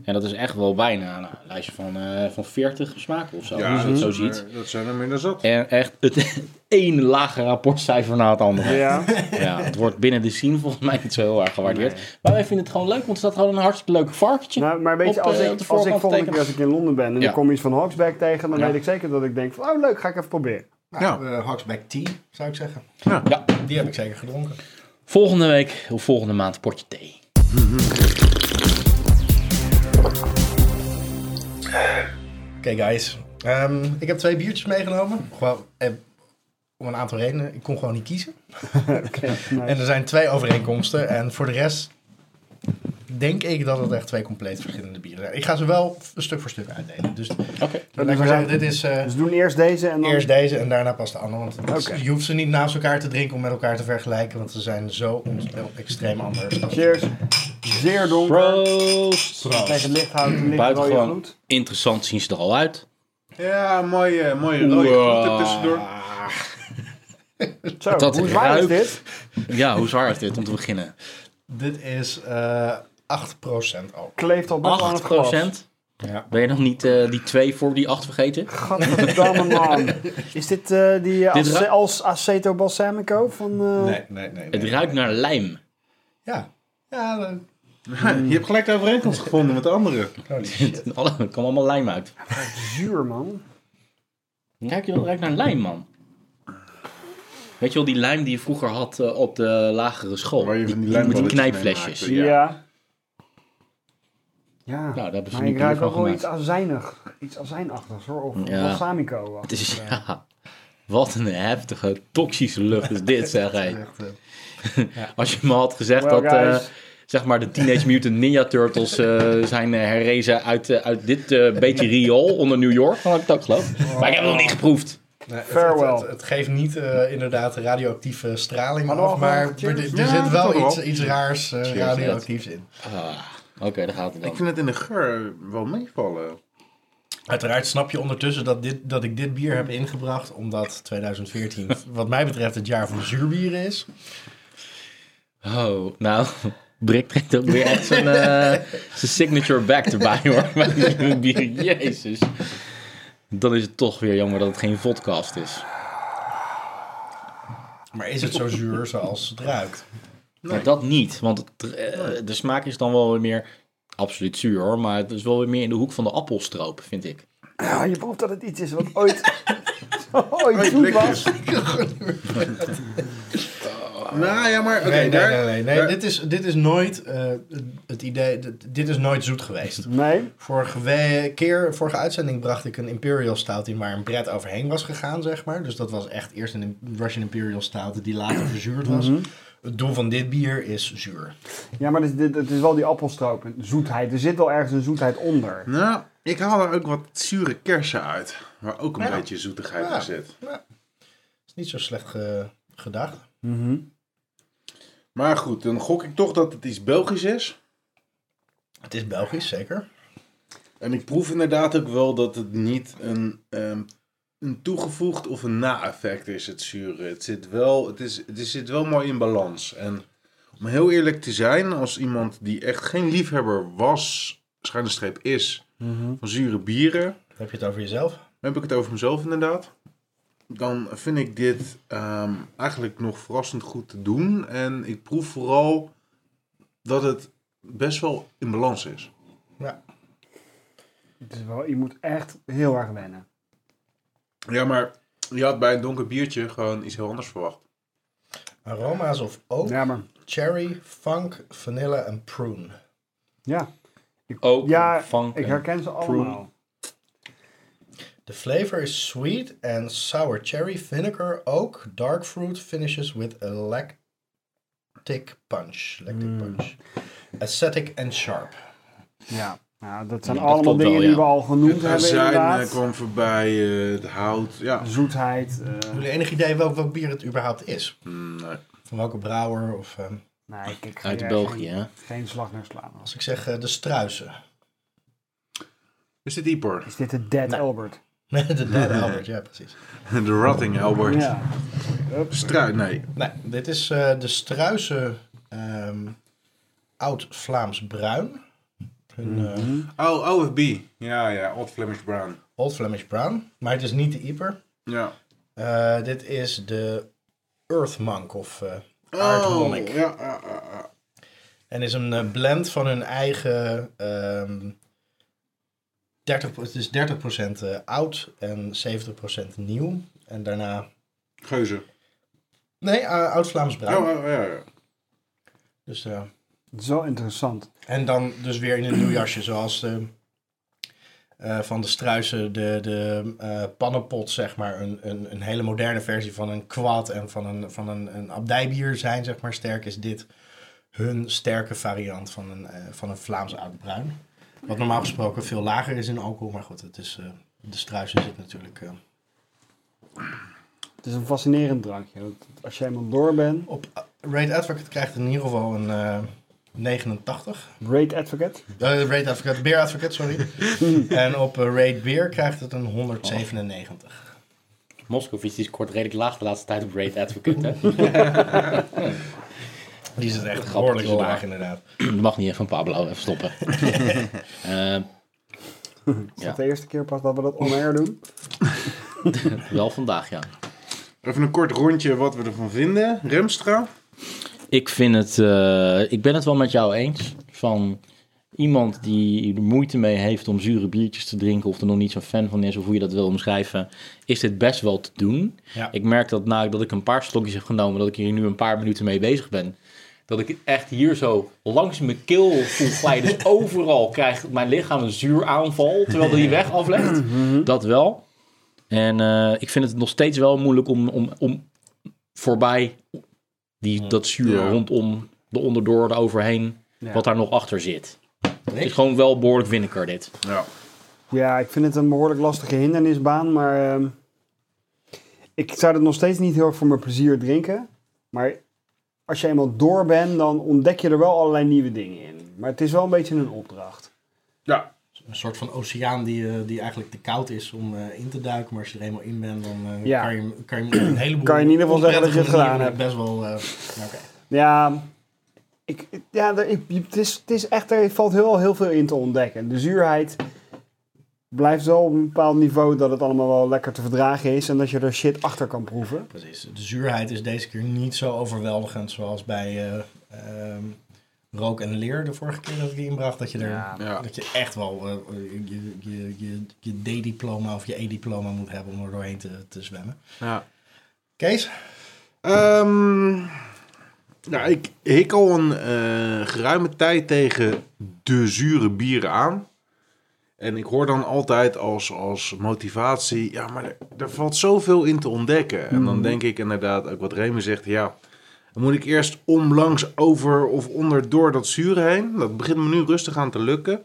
[SPEAKER 1] En dat is echt wel bijna nou, een lijstje van, eh, van 40 smaken of zo, als je dat zo ziet.
[SPEAKER 5] maar Dat zijn er minder zat.
[SPEAKER 1] En echt het één lage rapportcijfer na het andere.
[SPEAKER 2] Ja.
[SPEAKER 1] Ja, het wordt binnen de scene volgens mij niet zo heel erg gewaardeerd. Maar wij vinden het gewoon leuk, want er staat gewoon een hartstikke leuk varkentje.
[SPEAKER 2] Nou, maar weet je,
[SPEAKER 1] Op,
[SPEAKER 2] als
[SPEAKER 1] eh,
[SPEAKER 2] ik,
[SPEAKER 1] op de
[SPEAKER 2] als ik
[SPEAKER 1] voorkant
[SPEAKER 2] volgende
[SPEAKER 1] tekenen.
[SPEAKER 2] keer als ik in Londen ben en
[SPEAKER 1] Ja.
[SPEAKER 2] ik kom iets van Hawksback tegen, dan
[SPEAKER 1] Ja.
[SPEAKER 2] weet ik zeker dat ik denk van, oh leuk, ga ik even proberen.
[SPEAKER 3] nou, eh, Hogsback tea, zou ik zeggen.
[SPEAKER 1] Ja,
[SPEAKER 3] Die heb ik zeker gedronken.
[SPEAKER 1] volgende week of volgende maand potje thee.
[SPEAKER 3] Oké guys, Ehm, ik heb twee biertjes meegenomen. Gewoon, eh, om een aantal redenen. Ik kon gewoon niet kiezen. En er zijn twee overeenkomsten. En voor de rest denk ik dat het echt twee compleet verschillende bieren zijn. Ik ga ze wel stuk voor stuk uitdelen. Dus
[SPEAKER 1] Oké.
[SPEAKER 3] laat ik maar zeggen, dit is eh,
[SPEAKER 2] Dus we doen eerst deze en dan...
[SPEAKER 3] eerst deze en daarna pas de andere. Want het is-
[SPEAKER 2] Oké.
[SPEAKER 3] je hoeft ze niet naast elkaar te drinken om met elkaar te vergelijken. Want ze zijn zo on- extreem anders.
[SPEAKER 2] Cheers. Zeer donker.
[SPEAKER 1] Proost.
[SPEAKER 2] Tegen het licht houdt een licht rode
[SPEAKER 1] Buitengewoon
[SPEAKER 2] gloed.
[SPEAKER 1] interessant zien ze er al uit.
[SPEAKER 5] Ja, mooie, mooie rode
[SPEAKER 1] Wow.
[SPEAKER 5] groeten tussendoor.
[SPEAKER 2] Zo,
[SPEAKER 1] Dat
[SPEAKER 2] hoe zwaar is
[SPEAKER 1] ruikt.
[SPEAKER 2] dit?
[SPEAKER 1] Ja, hoe zwaar is dit om te beginnen?
[SPEAKER 3] Dit is eh 8% ook.
[SPEAKER 2] Kleeft al best wel aan het
[SPEAKER 1] 8
[SPEAKER 2] glas.
[SPEAKER 3] Ja.
[SPEAKER 1] Ben je nog niet eh, die 2 voor die 8 vergeten?
[SPEAKER 2] Gadverdamme man. Is dit eh, die eh,
[SPEAKER 1] Dit
[SPEAKER 2] ace-
[SPEAKER 1] ruikt-
[SPEAKER 2] als Aceto Balsamico van... eh,
[SPEAKER 3] Nee, nee, nee.
[SPEAKER 1] Het
[SPEAKER 3] nee.
[SPEAKER 1] ruikt naar lijm.
[SPEAKER 3] Ja. Ja, dan-
[SPEAKER 5] Ha, je hebt gelijk de overeenkomst gevonden met de andere.
[SPEAKER 3] holy shit.
[SPEAKER 1] Alle- Er kwam allemaal lijm uit.
[SPEAKER 2] Zuur man.
[SPEAKER 1] Ruik je dat? Ruikt naar lijm, man. Weet je wel, die lijm die je vroeger had eh, op de lagere school.
[SPEAKER 5] Waar je van die
[SPEAKER 1] met die
[SPEAKER 5] lijmballetjes mee
[SPEAKER 1] knijpflesjes.
[SPEAKER 5] maakte, Ja.
[SPEAKER 2] Ja. Ja.
[SPEAKER 1] Nou, daar hebben ze
[SPEAKER 2] maar
[SPEAKER 1] nu
[SPEAKER 2] ik ruik
[SPEAKER 1] bier
[SPEAKER 2] ook
[SPEAKER 1] van
[SPEAKER 2] wel iets
[SPEAKER 1] gemaakt.
[SPEAKER 2] azijnig. Iets azijnachtigs hoor. Of
[SPEAKER 1] Ja.
[SPEAKER 2] balsamico.
[SPEAKER 1] Het is, ja, wat een heftige, toxische lucht is dit, zeg hé.
[SPEAKER 3] Echt, eh,
[SPEAKER 1] Als je me had gezegd
[SPEAKER 2] Well,
[SPEAKER 1] dat, eh,
[SPEAKER 2] guys.
[SPEAKER 1] zeg maar, de Teenage Mutant Ninja Turtles eh, zijn eh, herrezen uit, eh, uit dit eh, beetje riool onder New York, dan had ik dat geloofd. Maar ik heb het nog niet geproeft.
[SPEAKER 3] nee, het-
[SPEAKER 2] Farewell.
[SPEAKER 3] Het, het, het geeft niet eh, inderdaad radioactieve straling
[SPEAKER 2] Hadden we
[SPEAKER 3] af,
[SPEAKER 2] al
[SPEAKER 3] maar
[SPEAKER 2] gewoon
[SPEAKER 3] er,
[SPEAKER 2] gecheers?
[SPEAKER 3] er
[SPEAKER 5] dus- Ja,
[SPEAKER 3] zit
[SPEAKER 5] dat
[SPEAKER 3] wel
[SPEAKER 5] wel.
[SPEAKER 3] iets, iets raars eh, radioactiefs in.
[SPEAKER 1] Ah, Oké, daar gaat het
[SPEAKER 5] Ik
[SPEAKER 1] dan.
[SPEAKER 5] vind het in de geur wel meevallen.
[SPEAKER 3] Uiteraard snap je ondertussen dat, dit, dat ik dit bier heb ingebracht, omdat 2014 wat mij betreft het jaar van zuurbieren is.
[SPEAKER 1] Oh, nou, Brick trekt ook weer echt zijn, eh, zijn signature back erbij, hoor. Bij die bier. Jezus. Dan is het toch weer jammer dat het geen vodcast is.
[SPEAKER 3] Maar is het zo zuur zoals het ruikt?
[SPEAKER 1] Maar dat niet, want het, eh, de smaak is dan wel weer meer... Absoluut zuur hoor, maar het is wel weer meer in de hoek van de appelstroop, vind ik.
[SPEAKER 2] Ja, Ah, je proeft dat het iets is wat ooit... ooit
[SPEAKER 5] Ooit
[SPEAKER 2] zoet
[SPEAKER 5] lekker
[SPEAKER 2] was.
[SPEAKER 5] is. Nou ja, maar oké.
[SPEAKER 3] nee, nee,
[SPEAKER 5] daar-
[SPEAKER 3] nee, nee, nee.
[SPEAKER 5] daar-
[SPEAKER 3] Dit, is, dit is nooit eh, het idee, dit, dit is nooit zoet geweest.
[SPEAKER 2] Nee.
[SPEAKER 3] Vorige we- keer, vorige uitzending bracht ik een Imperial Stout in waar een bret overheen was gegaan, zeg maar. Dus dat was echt eerst een Russian Imperial Stout die later verzuurd was.
[SPEAKER 2] Mhm.
[SPEAKER 3] Het doel van dit bier is zuur.
[SPEAKER 2] Ja, maar het is, dit- het is wel die appelstroop. en Zoetheid. Er zit wel ergens een zoetheid onder.
[SPEAKER 5] Nou, ik haal er ook wat zure kersen uit. Waar ook een beetje zoetigheid
[SPEAKER 3] Ja.
[SPEAKER 5] in zit.
[SPEAKER 3] is niet zo slecht ge- gedacht.
[SPEAKER 5] Maar goed, dan gok ik toch dat het iets Belgisch is.
[SPEAKER 3] Het is Belgisch, zeker.
[SPEAKER 5] En ik proef inderdaad ook wel dat het niet een, ehm, een toegevoegd of een na-effect is, het zure. Het zit wel, het is, het is- zit wel mooi in balans. En om heel eerlijk te zijn, als iemand die echt geen liefhebber was, schuine streep is,
[SPEAKER 3] Mhm.
[SPEAKER 5] van zure bieren...
[SPEAKER 3] Heb je het over jezelf?
[SPEAKER 5] Dan heb ik het over mezelf inderdaad. Dan vind ik dit ehm, eigenlijk nog verrassend goed te doen. En ik proef vooral dat het best wel in balans is.
[SPEAKER 2] Het is wel, je moet echt heel erg wennen.
[SPEAKER 5] Ja, maar je had bij een donker biertje gewoon iets heel anders verwacht.
[SPEAKER 3] Aroma's of oak,
[SPEAKER 2] Ja, maar...
[SPEAKER 3] cherry, funk, vanille en prune.
[SPEAKER 2] Ja,
[SPEAKER 1] Ook
[SPEAKER 2] ja
[SPEAKER 1] van
[SPEAKER 2] ik herken ze allemaal.
[SPEAKER 3] The flavor is sweet and sour cherry, vinegar, oak, dark fruit finishes with a lactic punch. Lactic punch. Acetic and sharp.
[SPEAKER 2] Ja. Nou, dat zijn
[SPEAKER 1] Ja, dat
[SPEAKER 2] allemaal
[SPEAKER 1] klopt
[SPEAKER 2] dingen
[SPEAKER 1] wel,
[SPEAKER 2] die
[SPEAKER 1] ja.
[SPEAKER 2] we al genoemd hebben
[SPEAKER 5] azijn eh,
[SPEAKER 2] inderdaad.
[SPEAKER 5] kwam voorbij, eh, het hout. Ja,
[SPEAKER 2] Zoetheid. eh,
[SPEAKER 3] Jullie enig idee welk, welk bier het überhaupt is?
[SPEAKER 5] Mm, nee.
[SPEAKER 3] Van welke brouwer? Of, ehm,
[SPEAKER 2] nee, ik, ik,
[SPEAKER 1] Uit
[SPEAKER 2] eh,
[SPEAKER 1] België,
[SPEAKER 2] Geen,
[SPEAKER 1] hè?
[SPEAKER 2] geen slag naar slaan.
[SPEAKER 3] als ik zeg eh, de struisen.
[SPEAKER 5] Is dit Ieper?
[SPEAKER 2] Is dit de Dead Albert?
[SPEAKER 3] Nee, de Dead Albert, ja precies.
[SPEAKER 5] De Rotting Albert.
[SPEAKER 2] Ja.
[SPEAKER 5] Struit, nee.
[SPEAKER 3] Nee, dit is eh, de struisen ehm, oud-Vlaams bruin. Hun, eh,
[SPEAKER 5] Oh, OFB. Ja, ja, Old Flemish Brown.
[SPEAKER 3] Old Flemish Brown. Maar het is niet de Ieper.
[SPEAKER 5] Ja.
[SPEAKER 3] Eh, dit is de Earth Monk of eh
[SPEAKER 5] Oh,
[SPEAKER 3] Aardmonnik.
[SPEAKER 5] ja, ja, ja, ja.
[SPEAKER 3] En is een eh, blend van hun eigen... ehm 30, het is 30% eh, oud en 70% nieuw. En daarna...
[SPEAKER 5] Geuze.
[SPEAKER 3] Nee, eh, oud-Vlaams
[SPEAKER 5] Oh,
[SPEAKER 3] Bruin.
[SPEAKER 5] oh, ja, ja.
[SPEAKER 3] Dus, eh,
[SPEAKER 2] Zo interessant.
[SPEAKER 3] en dan dus weer in een nieuw jasje, zoals de... eh, van de struisen, de, de eh, pannenpot, zeg maar. Een, een, een hele moderne versie van een kwad en van een, van een, een abdijbier zijn, zeg maar. Sterk is dit hun sterke variant van een, eh, van een Vlaams oud bruin. Wat normaal gesproken veel lager is in alcohol, maar goed, het is, eh, de struisen zit natuurlijk eh,
[SPEAKER 2] Het is een fascinerend drankje. Dat- dat Als je helemaal door bent.
[SPEAKER 3] op. Raid Advocate krijgt in ieder geval een, eh, 89.
[SPEAKER 2] Great Advocate.
[SPEAKER 3] Eh, Raid Advocate, Beer Advocate, sorry. en op eh, Raid Beer krijgt het een 197.
[SPEAKER 1] Moscovici is kort redelijk laag de laatste tijd op Raid Advocate. Hè?
[SPEAKER 2] Oh.
[SPEAKER 3] Die zit echt
[SPEAKER 1] Grappig
[SPEAKER 3] behoorlijk
[SPEAKER 1] wel,
[SPEAKER 3] laag,
[SPEAKER 1] hè?
[SPEAKER 3] inderdaad.
[SPEAKER 1] Je mag niet even Pablo even stoppen. Eh,
[SPEAKER 2] Is
[SPEAKER 1] Ja.
[SPEAKER 2] dat de eerste keer pas dat we dat on-air doen?
[SPEAKER 1] wel vandaag, ja.
[SPEAKER 5] Even een kort rondje wat we ervan vinden. Remstra.
[SPEAKER 1] Ik vind het, eh, ik ben het wel met jou eens. Van iemand die er moeite mee heeft om zure biertjes te drinken, of er nog niet zo'n fan van is, of hoe je dat wil omschrijven, is dit best wel te doen.
[SPEAKER 3] Ja.
[SPEAKER 1] Ik merk dat nadat ik een paar slokjes heb genomen, dat ik hier nu een paar minuten mee bezig ben. Dat ik het echt hier zo langs mijn keel voel glijden. Dus overal krijgt mijn lichaam een zuuraanval, terwijl die weg aflegt. Dat wel. En eh, ik vind het nog steeds wel moeilijk om, om, om voorbij die, dat zuur
[SPEAKER 5] Ja.
[SPEAKER 1] rondom de onderdoor, de overheen,
[SPEAKER 2] Ja.
[SPEAKER 1] wat daar nog achter zit. Het
[SPEAKER 3] Nick?
[SPEAKER 1] is gewoon wel behoorlijk winneker dit.
[SPEAKER 5] Ja.
[SPEAKER 2] Ja, ik vind het een behoorlijk lastige hindernisbaan, maar ehm, ik zou het nog steeds niet heel erg voor mijn plezier drinken. Maar als je eenmaal door bent, dan ontdek je er wel allerlei nieuwe dingen in. Maar het is wel een beetje een opdracht.
[SPEAKER 5] Ja.
[SPEAKER 3] Een soort van oceaan die, eh, die eigenlijk te koud is om eh, in te duiken. Maar als je er eenmaal in bent, dan eh,
[SPEAKER 2] Ja.
[SPEAKER 3] kan, je, hem- kan je hem op een heleboel...
[SPEAKER 2] Kan je in ieder geval zeggen dat je het
[SPEAKER 3] onprettige
[SPEAKER 2] gedaan
[SPEAKER 3] manieren Best wel... eh, nou, oké.
[SPEAKER 2] Ja, ik, ja er, ik- het, is, het is echt, er valt heel, heel veel in te ontdekken. De zuurheid blijft wel op een bepaald niveau dat het allemaal wel lekker te verdragen is en dat je er shit achter kan proeven.
[SPEAKER 3] Precies. De zuurheid is deze keer niet zo overweldigend zoals bij eh, ehm, rook en leer de vorige keer dat ik die inbracht. Dat je, er,
[SPEAKER 2] Ja.
[SPEAKER 5] Ja.
[SPEAKER 3] dat je echt wel eh, je, je, je, je D-diploma of je E-diploma moet hebben om er doorheen te, te zwemmen.
[SPEAKER 5] ja.
[SPEAKER 3] Kees?
[SPEAKER 5] Ehm, nou, ik hik al een eh, geruime tijd tegen de zure bieren aan. En ik hoor dan altijd als, als motivatie, ja, maar er, er valt zoveel in te ontdekken. En dan denk ik inderdaad, ook wat Remy zegt, ja, dan moet ik eerst omlangs over of onder door dat zure heen. Dat begint me nu rustig aan te lukken.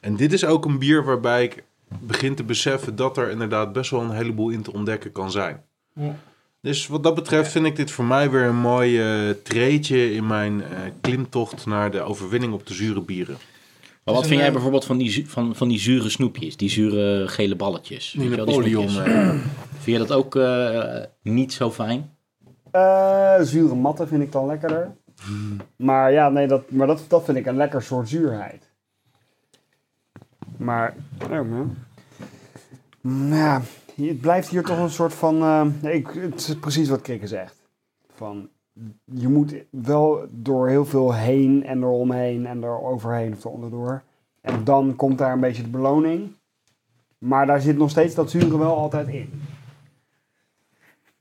[SPEAKER 5] En dit is ook een bier waarbij ik begin te beseffen dat er inderdaad best wel een heleboel in te ontdekken kan zijn. Dus wat dat betreft vind ik dit voor mij weer een mooi eh treetje in mijn eh, klimtocht naar de overwinning op de zure bieren.
[SPEAKER 1] Maar wat
[SPEAKER 3] een,
[SPEAKER 1] vind jij
[SPEAKER 3] eh,
[SPEAKER 1] bijvoorbeeld van die, zu- van, van die zure snoepjes, die zure gele balletjes? Weet je wel, die snoepjes? Vind je dat ook eh, niet zo fijn?
[SPEAKER 2] Eh, zure matten vind ik dan lekkerder. Maar ja, nee, dat, maar dat, dat vind ik een lekker soort zuurheid. Maar, oh man. Mm, Ja, het blijft hier toch een soort van. eh, nee, ik, het is precies wat Krikke zegt. Van, je moet wel door heel veel heen en eromheen en er overheen of eronderdoor. En dan komt daar een beetje de beloning. Maar daar zit nog steeds dat zure wel altijd in.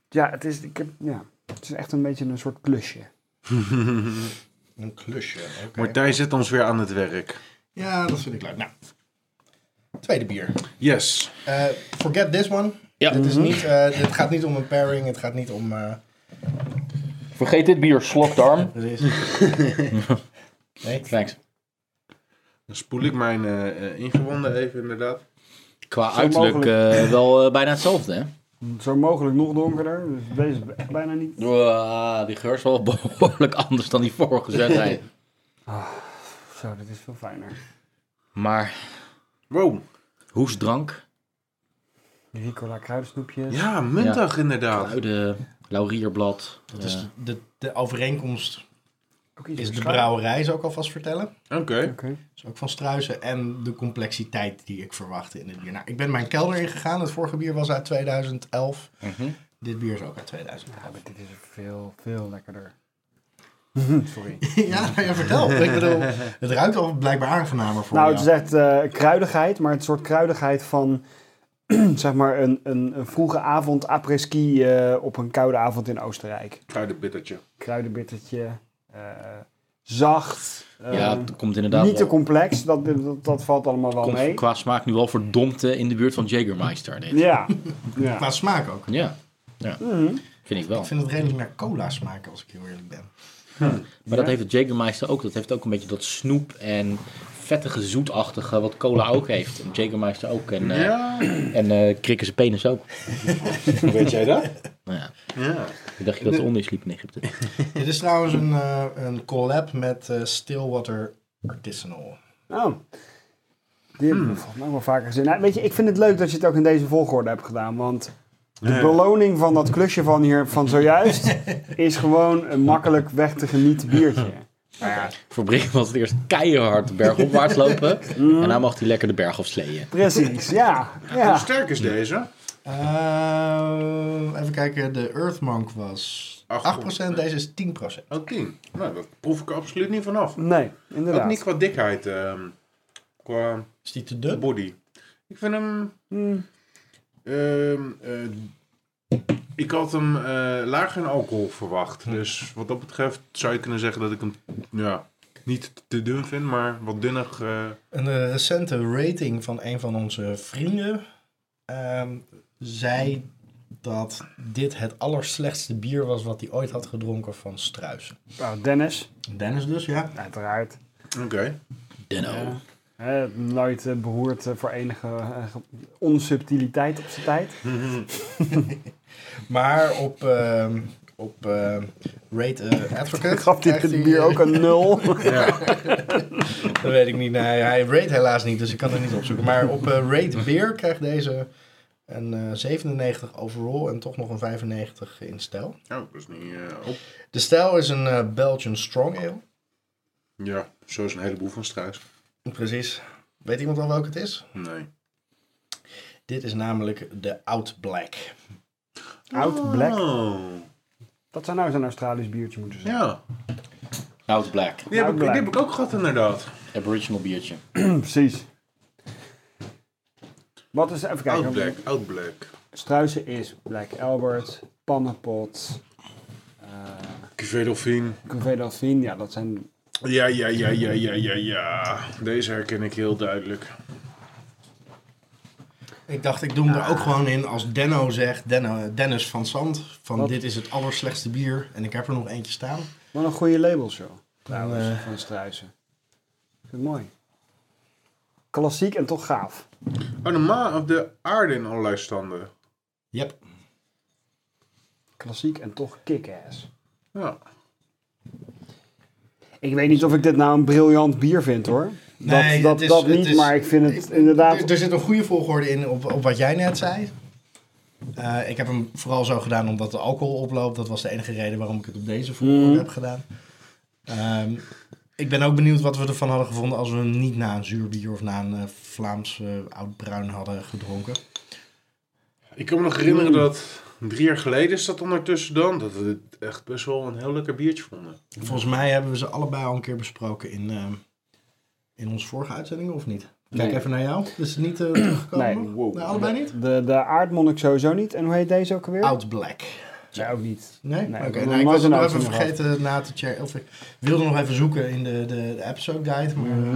[SPEAKER 2] Ja, het is, ik heb, ja, het is echt een beetje een soort klusje.
[SPEAKER 3] Een klusje. oké.
[SPEAKER 5] Martijn zit ons weer aan het werk.
[SPEAKER 3] Ja, dat vind ik leuk. Nou, tweede bier.
[SPEAKER 5] Yes.
[SPEAKER 3] Eh, forget this one.
[SPEAKER 1] Ja.
[SPEAKER 3] Dit is niet, eh, het gaat niet om een pairing, het gaat niet om... eh,
[SPEAKER 1] Vergeet dit bier, slokdarm.
[SPEAKER 3] precies. nee,
[SPEAKER 1] Thanks.
[SPEAKER 5] Dan spoel ik mijn eh, eh, ingewanden even inderdaad.
[SPEAKER 1] Qua
[SPEAKER 2] Zo
[SPEAKER 1] uiterlijk eh, wel eh, bijna hetzelfde, hè?
[SPEAKER 2] Zo mogelijk nog donkerder. Dus deze is echt bijna niet.
[SPEAKER 1] Wow, die geur is wel behoorlijk anders dan die vorige zetheid.
[SPEAKER 2] Zo, dit is veel fijner.
[SPEAKER 1] Maar
[SPEAKER 5] Wow.
[SPEAKER 1] hoesdrank,
[SPEAKER 2] Ricola kruidensnoepjes.
[SPEAKER 5] Ja, muntig inderdaad.
[SPEAKER 1] kruiden, laurierblad.
[SPEAKER 3] dat is
[SPEAKER 1] eh,
[SPEAKER 3] de, de, de overeenkomst
[SPEAKER 2] Ook iets
[SPEAKER 3] is
[SPEAKER 2] met
[SPEAKER 3] de
[SPEAKER 2] schuim.
[SPEAKER 3] brouwerij, zou ik alvast vertellen.
[SPEAKER 5] Oké.
[SPEAKER 2] Oké.
[SPEAKER 3] Dus ook van struisen en de complexiteit die ik verwachtte in dit bier. Nou, ik ben mijn kelder ingegaan. Het vorige bier was uit 2011.
[SPEAKER 1] mhm.
[SPEAKER 3] Dit bier is ook uit 2011.
[SPEAKER 2] Ja, maar dit is veel, veel lekkerder. Sorry.
[SPEAKER 3] ja, nou ja, vertel. Ik bedoel, het ruikt al blijkbaar aangenamer voor
[SPEAKER 2] Nou, het
[SPEAKER 3] jou.
[SPEAKER 2] is echt eh, kruidigheid, maar het soort kruidigheid van zeg maar een, een, een vroege avond apres-ski eh, op een koude avond in Oostenrijk.
[SPEAKER 5] Kruidenbittertje.
[SPEAKER 2] Kruidenbittertje, eh, zacht,
[SPEAKER 1] ja,
[SPEAKER 2] eh,
[SPEAKER 1] het komt inderdaad
[SPEAKER 2] niet te
[SPEAKER 1] wel-
[SPEAKER 2] complex, dat, dat, dat valt allemaal wel
[SPEAKER 1] komt
[SPEAKER 2] mee.
[SPEAKER 1] qua smaak nu wel verdomd eh, in de buurt van Jägermeister. Dit.
[SPEAKER 2] Ja, ja.
[SPEAKER 3] Qua smaak ook.
[SPEAKER 1] Ja, ja. vind ik wel.
[SPEAKER 3] Ik vind het redelijk naar cola smaken, als ik heel eerlijk ben.
[SPEAKER 1] Maar dat heeft het Jägermeister ook. Dat heeft ook een beetje dat snoep en vettige, zoetachtige wat cola ook heeft. En Jägermeister ook en, eh
[SPEAKER 5] Ja.
[SPEAKER 1] en eh Krikkers penis ook.
[SPEAKER 5] Weet jij dat?
[SPEAKER 1] Nou ja,
[SPEAKER 5] Ja.
[SPEAKER 1] ik dacht je dat de onder sliep in Egypte.
[SPEAKER 3] Dit is trouwens een, eh, een collab met eh, Stillwater Artisanal.
[SPEAKER 2] Oh. Die hebben we volgens mij wel vaker gezien. Nou, weet je, ik vind het leuk dat je het ook in deze volgorde hebt gedaan. Want de
[SPEAKER 5] Ja.
[SPEAKER 2] beloning van dat klusje van hier van zojuist is gewoon een makkelijk weg te genieten biertje.
[SPEAKER 1] Voor Brik was het eerst keihard bergopwaarts lopen. En dan mag hij lekker de berg af sleeën.
[SPEAKER 2] Precies, ja.
[SPEAKER 5] Hoe
[SPEAKER 2] ja.
[SPEAKER 5] sterk is deze?
[SPEAKER 3] Eh, even kijken, de Earth Monk was 8%,
[SPEAKER 5] Acht procent.
[SPEAKER 3] deze is 10%.
[SPEAKER 5] Ook 10. Nou, dat proef ik er absoluut niet vanaf.
[SPEAKER 2] Nee,
[SPEAKER 5] Ook niet
[SPEAKER 2] inderdaad.
[SPEAKER 5] qua dikheid, ehm, qua
[SPEAKER 3] Is die te dun?
[SPEAKER 5] body. Ik vind hem.
[SPEAKER 2] Hmm.
[SPEAKER 5] ehm, eh, ik had hem eh, lager in alcohol verwacht. Dus wat dat betreft zou je kunnen zeggen dat ik hem ja, niet te dun vind, maar wat dunnig. eh,
[SPEAKER 3] Een eh, recente rating van een van onze vrienden ehm, zei dat dit het allerslechtste bier was wat hij ooit had gedronken van Struisen.
[SPEAKER 2] Nou, Dennis,
[SPEAKER 3] Dennis dus, ja.
[SPEAKER 2] uiteraard.
[SPEAKER 5] Oké.
[SPEAKER 1] Denno.
[SPEAKER 2] Hè, nooit eh, beroerd eh, voor enige eh, ge- onsubtiliteit op zijn tijd.
[SPEAKER 3] Maar op, ehm, op ehm, Rate eh, Advocate...
[SPEAKER 2] Ik gaf dit
[SPEAKER 3] krijgt
[SPEAKER 2] het
[SPEAKER 3] hij,
[SPEAKER 2] bier
[SPEAKER 3] eh,
[SPEAKER 2] ook een nul.
[SPEAKER 3] Dat weet ik niet. Nee, hij rate helaas niet, dus ik kan het niet opzoeken. Maar op eh Rate Beer krijgt deze een eh, 97 overall en toch nog een 95 in stijl.
[SPEAKER 5] Oh, dat is niet eh, op.
[SPEAKER 3] De stijl is een eh, Belgian Strong Ale.
[SPEAKER 5] Ja, zo is een heleboel van struis.
[SPEAKER 3] Precies. Weet iemand al welke het is?
[SPEAKER 5] Nee.
[SPEAKER 3] Dit is namelijk de Out Black.
[SPEAKER 2] Oud black.
[SPEAKER 5] Oh,
[SPEAKER 2] Dat zou nou eens een Australisch biertje moeten zijn.
[SPEAKER 5] ja.
[SPEAKER 1] Oud Black.
[SPEAKER 5] Die heb, ik, die
[SPEAKER 2] Uitblijf.
[SPEAKER 5] heb ik ook gehad, inderdaad.
[SPEAKER 1] Aboriginal biertje.
[SPEAKER 2] Precies. Wat is, even kijken.
[SPEAKER 5] Oud black, oud black.
[SPEAKER 2] Struisen is Black Albert, Pannenpot,
[SPEAKER 5] Cuvée Dauphine.
[SPEAKER 2] Cuvée Dauphine. Ja, dat zijn...
[SPEAKER 5] Ja, ja, ja, ja, ja, ja, ja. Deze herken ik heel duidelijk.
[SPEAKER 3] Ik dacht, ik doe hem er ook gewoon in als Denno zegt, Denno, Dennis van Zand, van
[SPEAKER 2] Wat?
[SPEAKER 3] dit is het allerslechtste bier en ik heb er nog eentje staan.
[SPEAKER 2] Wat een goede label zo. Trouwens,
[SPEAKER 3] eh,
[SPEAKER 2] van Struisen. Vind ik mooi. Klassiek en toch gaaf.
[SPEAKER 5] Oh, de maan of de aarde in allerlei standen.
[SPEAKER 3] Yep.
[SPEAKER 2] Klassiek en toch kick-ass.
[SPEAKER 5] Ja.
[SPEAKER 2] Ik weet niet of ik dit nou een briljant bier vind hoor. Dat,
[SPEAKER 3] Nee,
[SPEAKER 2] dat,
[SPEAKER 3] het is-
[SPEAKER 2] dat
[SPEAKER 3] het
[SPEAKER 2] niet,
[SPEAKER 3] is-
[SPEAKER 2] maar ik vind het inderdaad...
[SPEAKER 3] Er, er zit een goede volgorde in op, op wat jij net zei. Eh, ik heb hem vooral zo gedaan omdat de alcohol oploopt. Dat was de enige reden waarom ik het op deze volgorde
[SPEAKER 2] Mhm.
[SPEAKER 3] heb gedaan. Ehm, ik ben ook benieuwd wat we ervan hadden gevonden als we hem niet na een zuur bier of na een eh, Vlaams eh, oud bruin hadden gedronken.
[SPEAKER 5] Ik kan me nog herinneren dat drie jaar geleden is dat ondertussen dan, dat we het echt best wel een heel lekker biertje vonden.
[SPEAKER 3] Volgens mij hebben we ze allebei al een keer besproken in, ehm, in onze vorige uitzendingen, of niet? Kijk
[SPEAKER 2] Nee.
[SPEAKER 3] even naar jou. Is het niet eh, teruggekomen?
[SPEAKER 2] Nee.
[SPEAKER 3] nog? Nee, allebei niet?
[SPEAKER 2] De, de aardmonnik sowieso niet. En hoe heet deze ook alweer?
[SPEAKER 3] Oud Black.
[SPEAKER 2] Ja, ook niet. Nee,
[SPEAKER 3] Nee? Oké,
[SPEAKER 2] we hebben
[SPEAKER 3] nou, ik
[SPEAKER 2] nooit
[SPEAKER 3] was
[SPEAKER 2] een
[SPEAKER 3] het nog even
[SPEAKER 2] uitzending
[SPEAKER 3] vergeten na te checken. Of ik wilde nog even zoeken in de, de, de episode guide. Maar,
[SPEAKER 2] Mhm.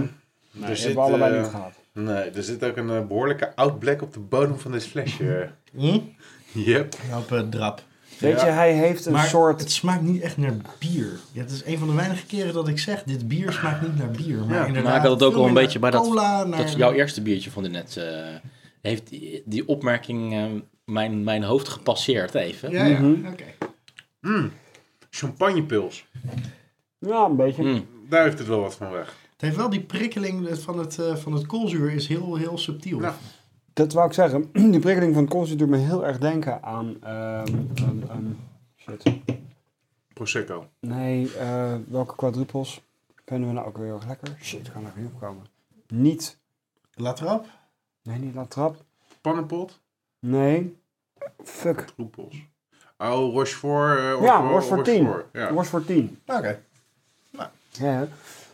[SPEAKER 5] Er
[SPEAKER 2] Nee, die
[SPEAKER 5] zit,
[SPEAKER 2] Dus hebben we allebei
[SPEAKER 5] eh,
[SPEAKER 2] niet gehad.
[SPEAKER 5] Nee, er zit ook een eh, behoorlijke oud black op de bodem van dit flesje.
[SPEAKER 3] Hm?
[SPEAKER 5] Yep.
[SPEAKER 3] Nou, op eh, drap.
[SPEAKER 2] Weet je, hij heeft een
[SPEAKER 3] Maar
[SPEAKER 2] soort...
[SPEAKER 3] het smaakt niet echt naar bier. Ja, het is een van de weinige keren dat ik zeg, dit bier smaakt niet naar bier. Maar
[SPEAKER 5] Ja,
[SPEAKER 3] inderdaad,
[SPEAKER 1] Maar ik had het ook
[SPEAKER 3] veel
[SPEAKER 1] al een
[SPEAKER 3] meer
[SPEAKER 1] beetje bij
[SPEAKER 3] naar
[SPEAKER 1] dat,
[SPEAKER 3] cola, naar...
[SPEAKER 1] dat jouw eerste biertje van de net. eh, heeft die, die opmerking eh, mijn, mijn hoofd gepasseerd even.
[SPEAKER 3] Ja, ja,
[SPEAKER 2] Mhm.
[SPEAKER 3] oké.
[SPEAKER 5] Hmm, Champagnepils.
[SPEAKER 2] Ja, een beetje.
[SPEAKER 1] Mm.
[SPEAKER 5] Daar heeft het wel wat van weg.
[SPEAKER 3] Het heeft wel die prikkeling van het, eh, van het koolzuur is heel, heel subtiel.
[SPEAKER 5] Nou.
[SPEAKER 2] Dat wou ik zeggen. Die prikkeling van koolzuur doet me heel erg denken aan... ehm, ehm, ehm, shit.
[SPEAKER 5] Prosecco.
[SPEAKER 2] Nee, eh, welke quadrupels vinden we nou ook weer heel erg lekker? Shit, ik kan er niet op komen. Niet.
[SPEAKER 3] La Trappe?
[SPEAKER 2] Nee, niet La Trap.
[SPEAKER 5] Pannenpot.
[SPEAKER 2] Nee. Fuck.
[SPEAKER 5] Roepels. Oh, Rochefort. eh,
[SPEAKER 2] Ja,
[SPEAKER 5] Rochefort,
[SPEAKER 2] worst voor 10.
[SPEAKER 5] Rochefort, Ja.
[SPEAKER 2] Worst voor 10.
[SPEAKER 3] Oké.
[SPEAKER 2] Ja.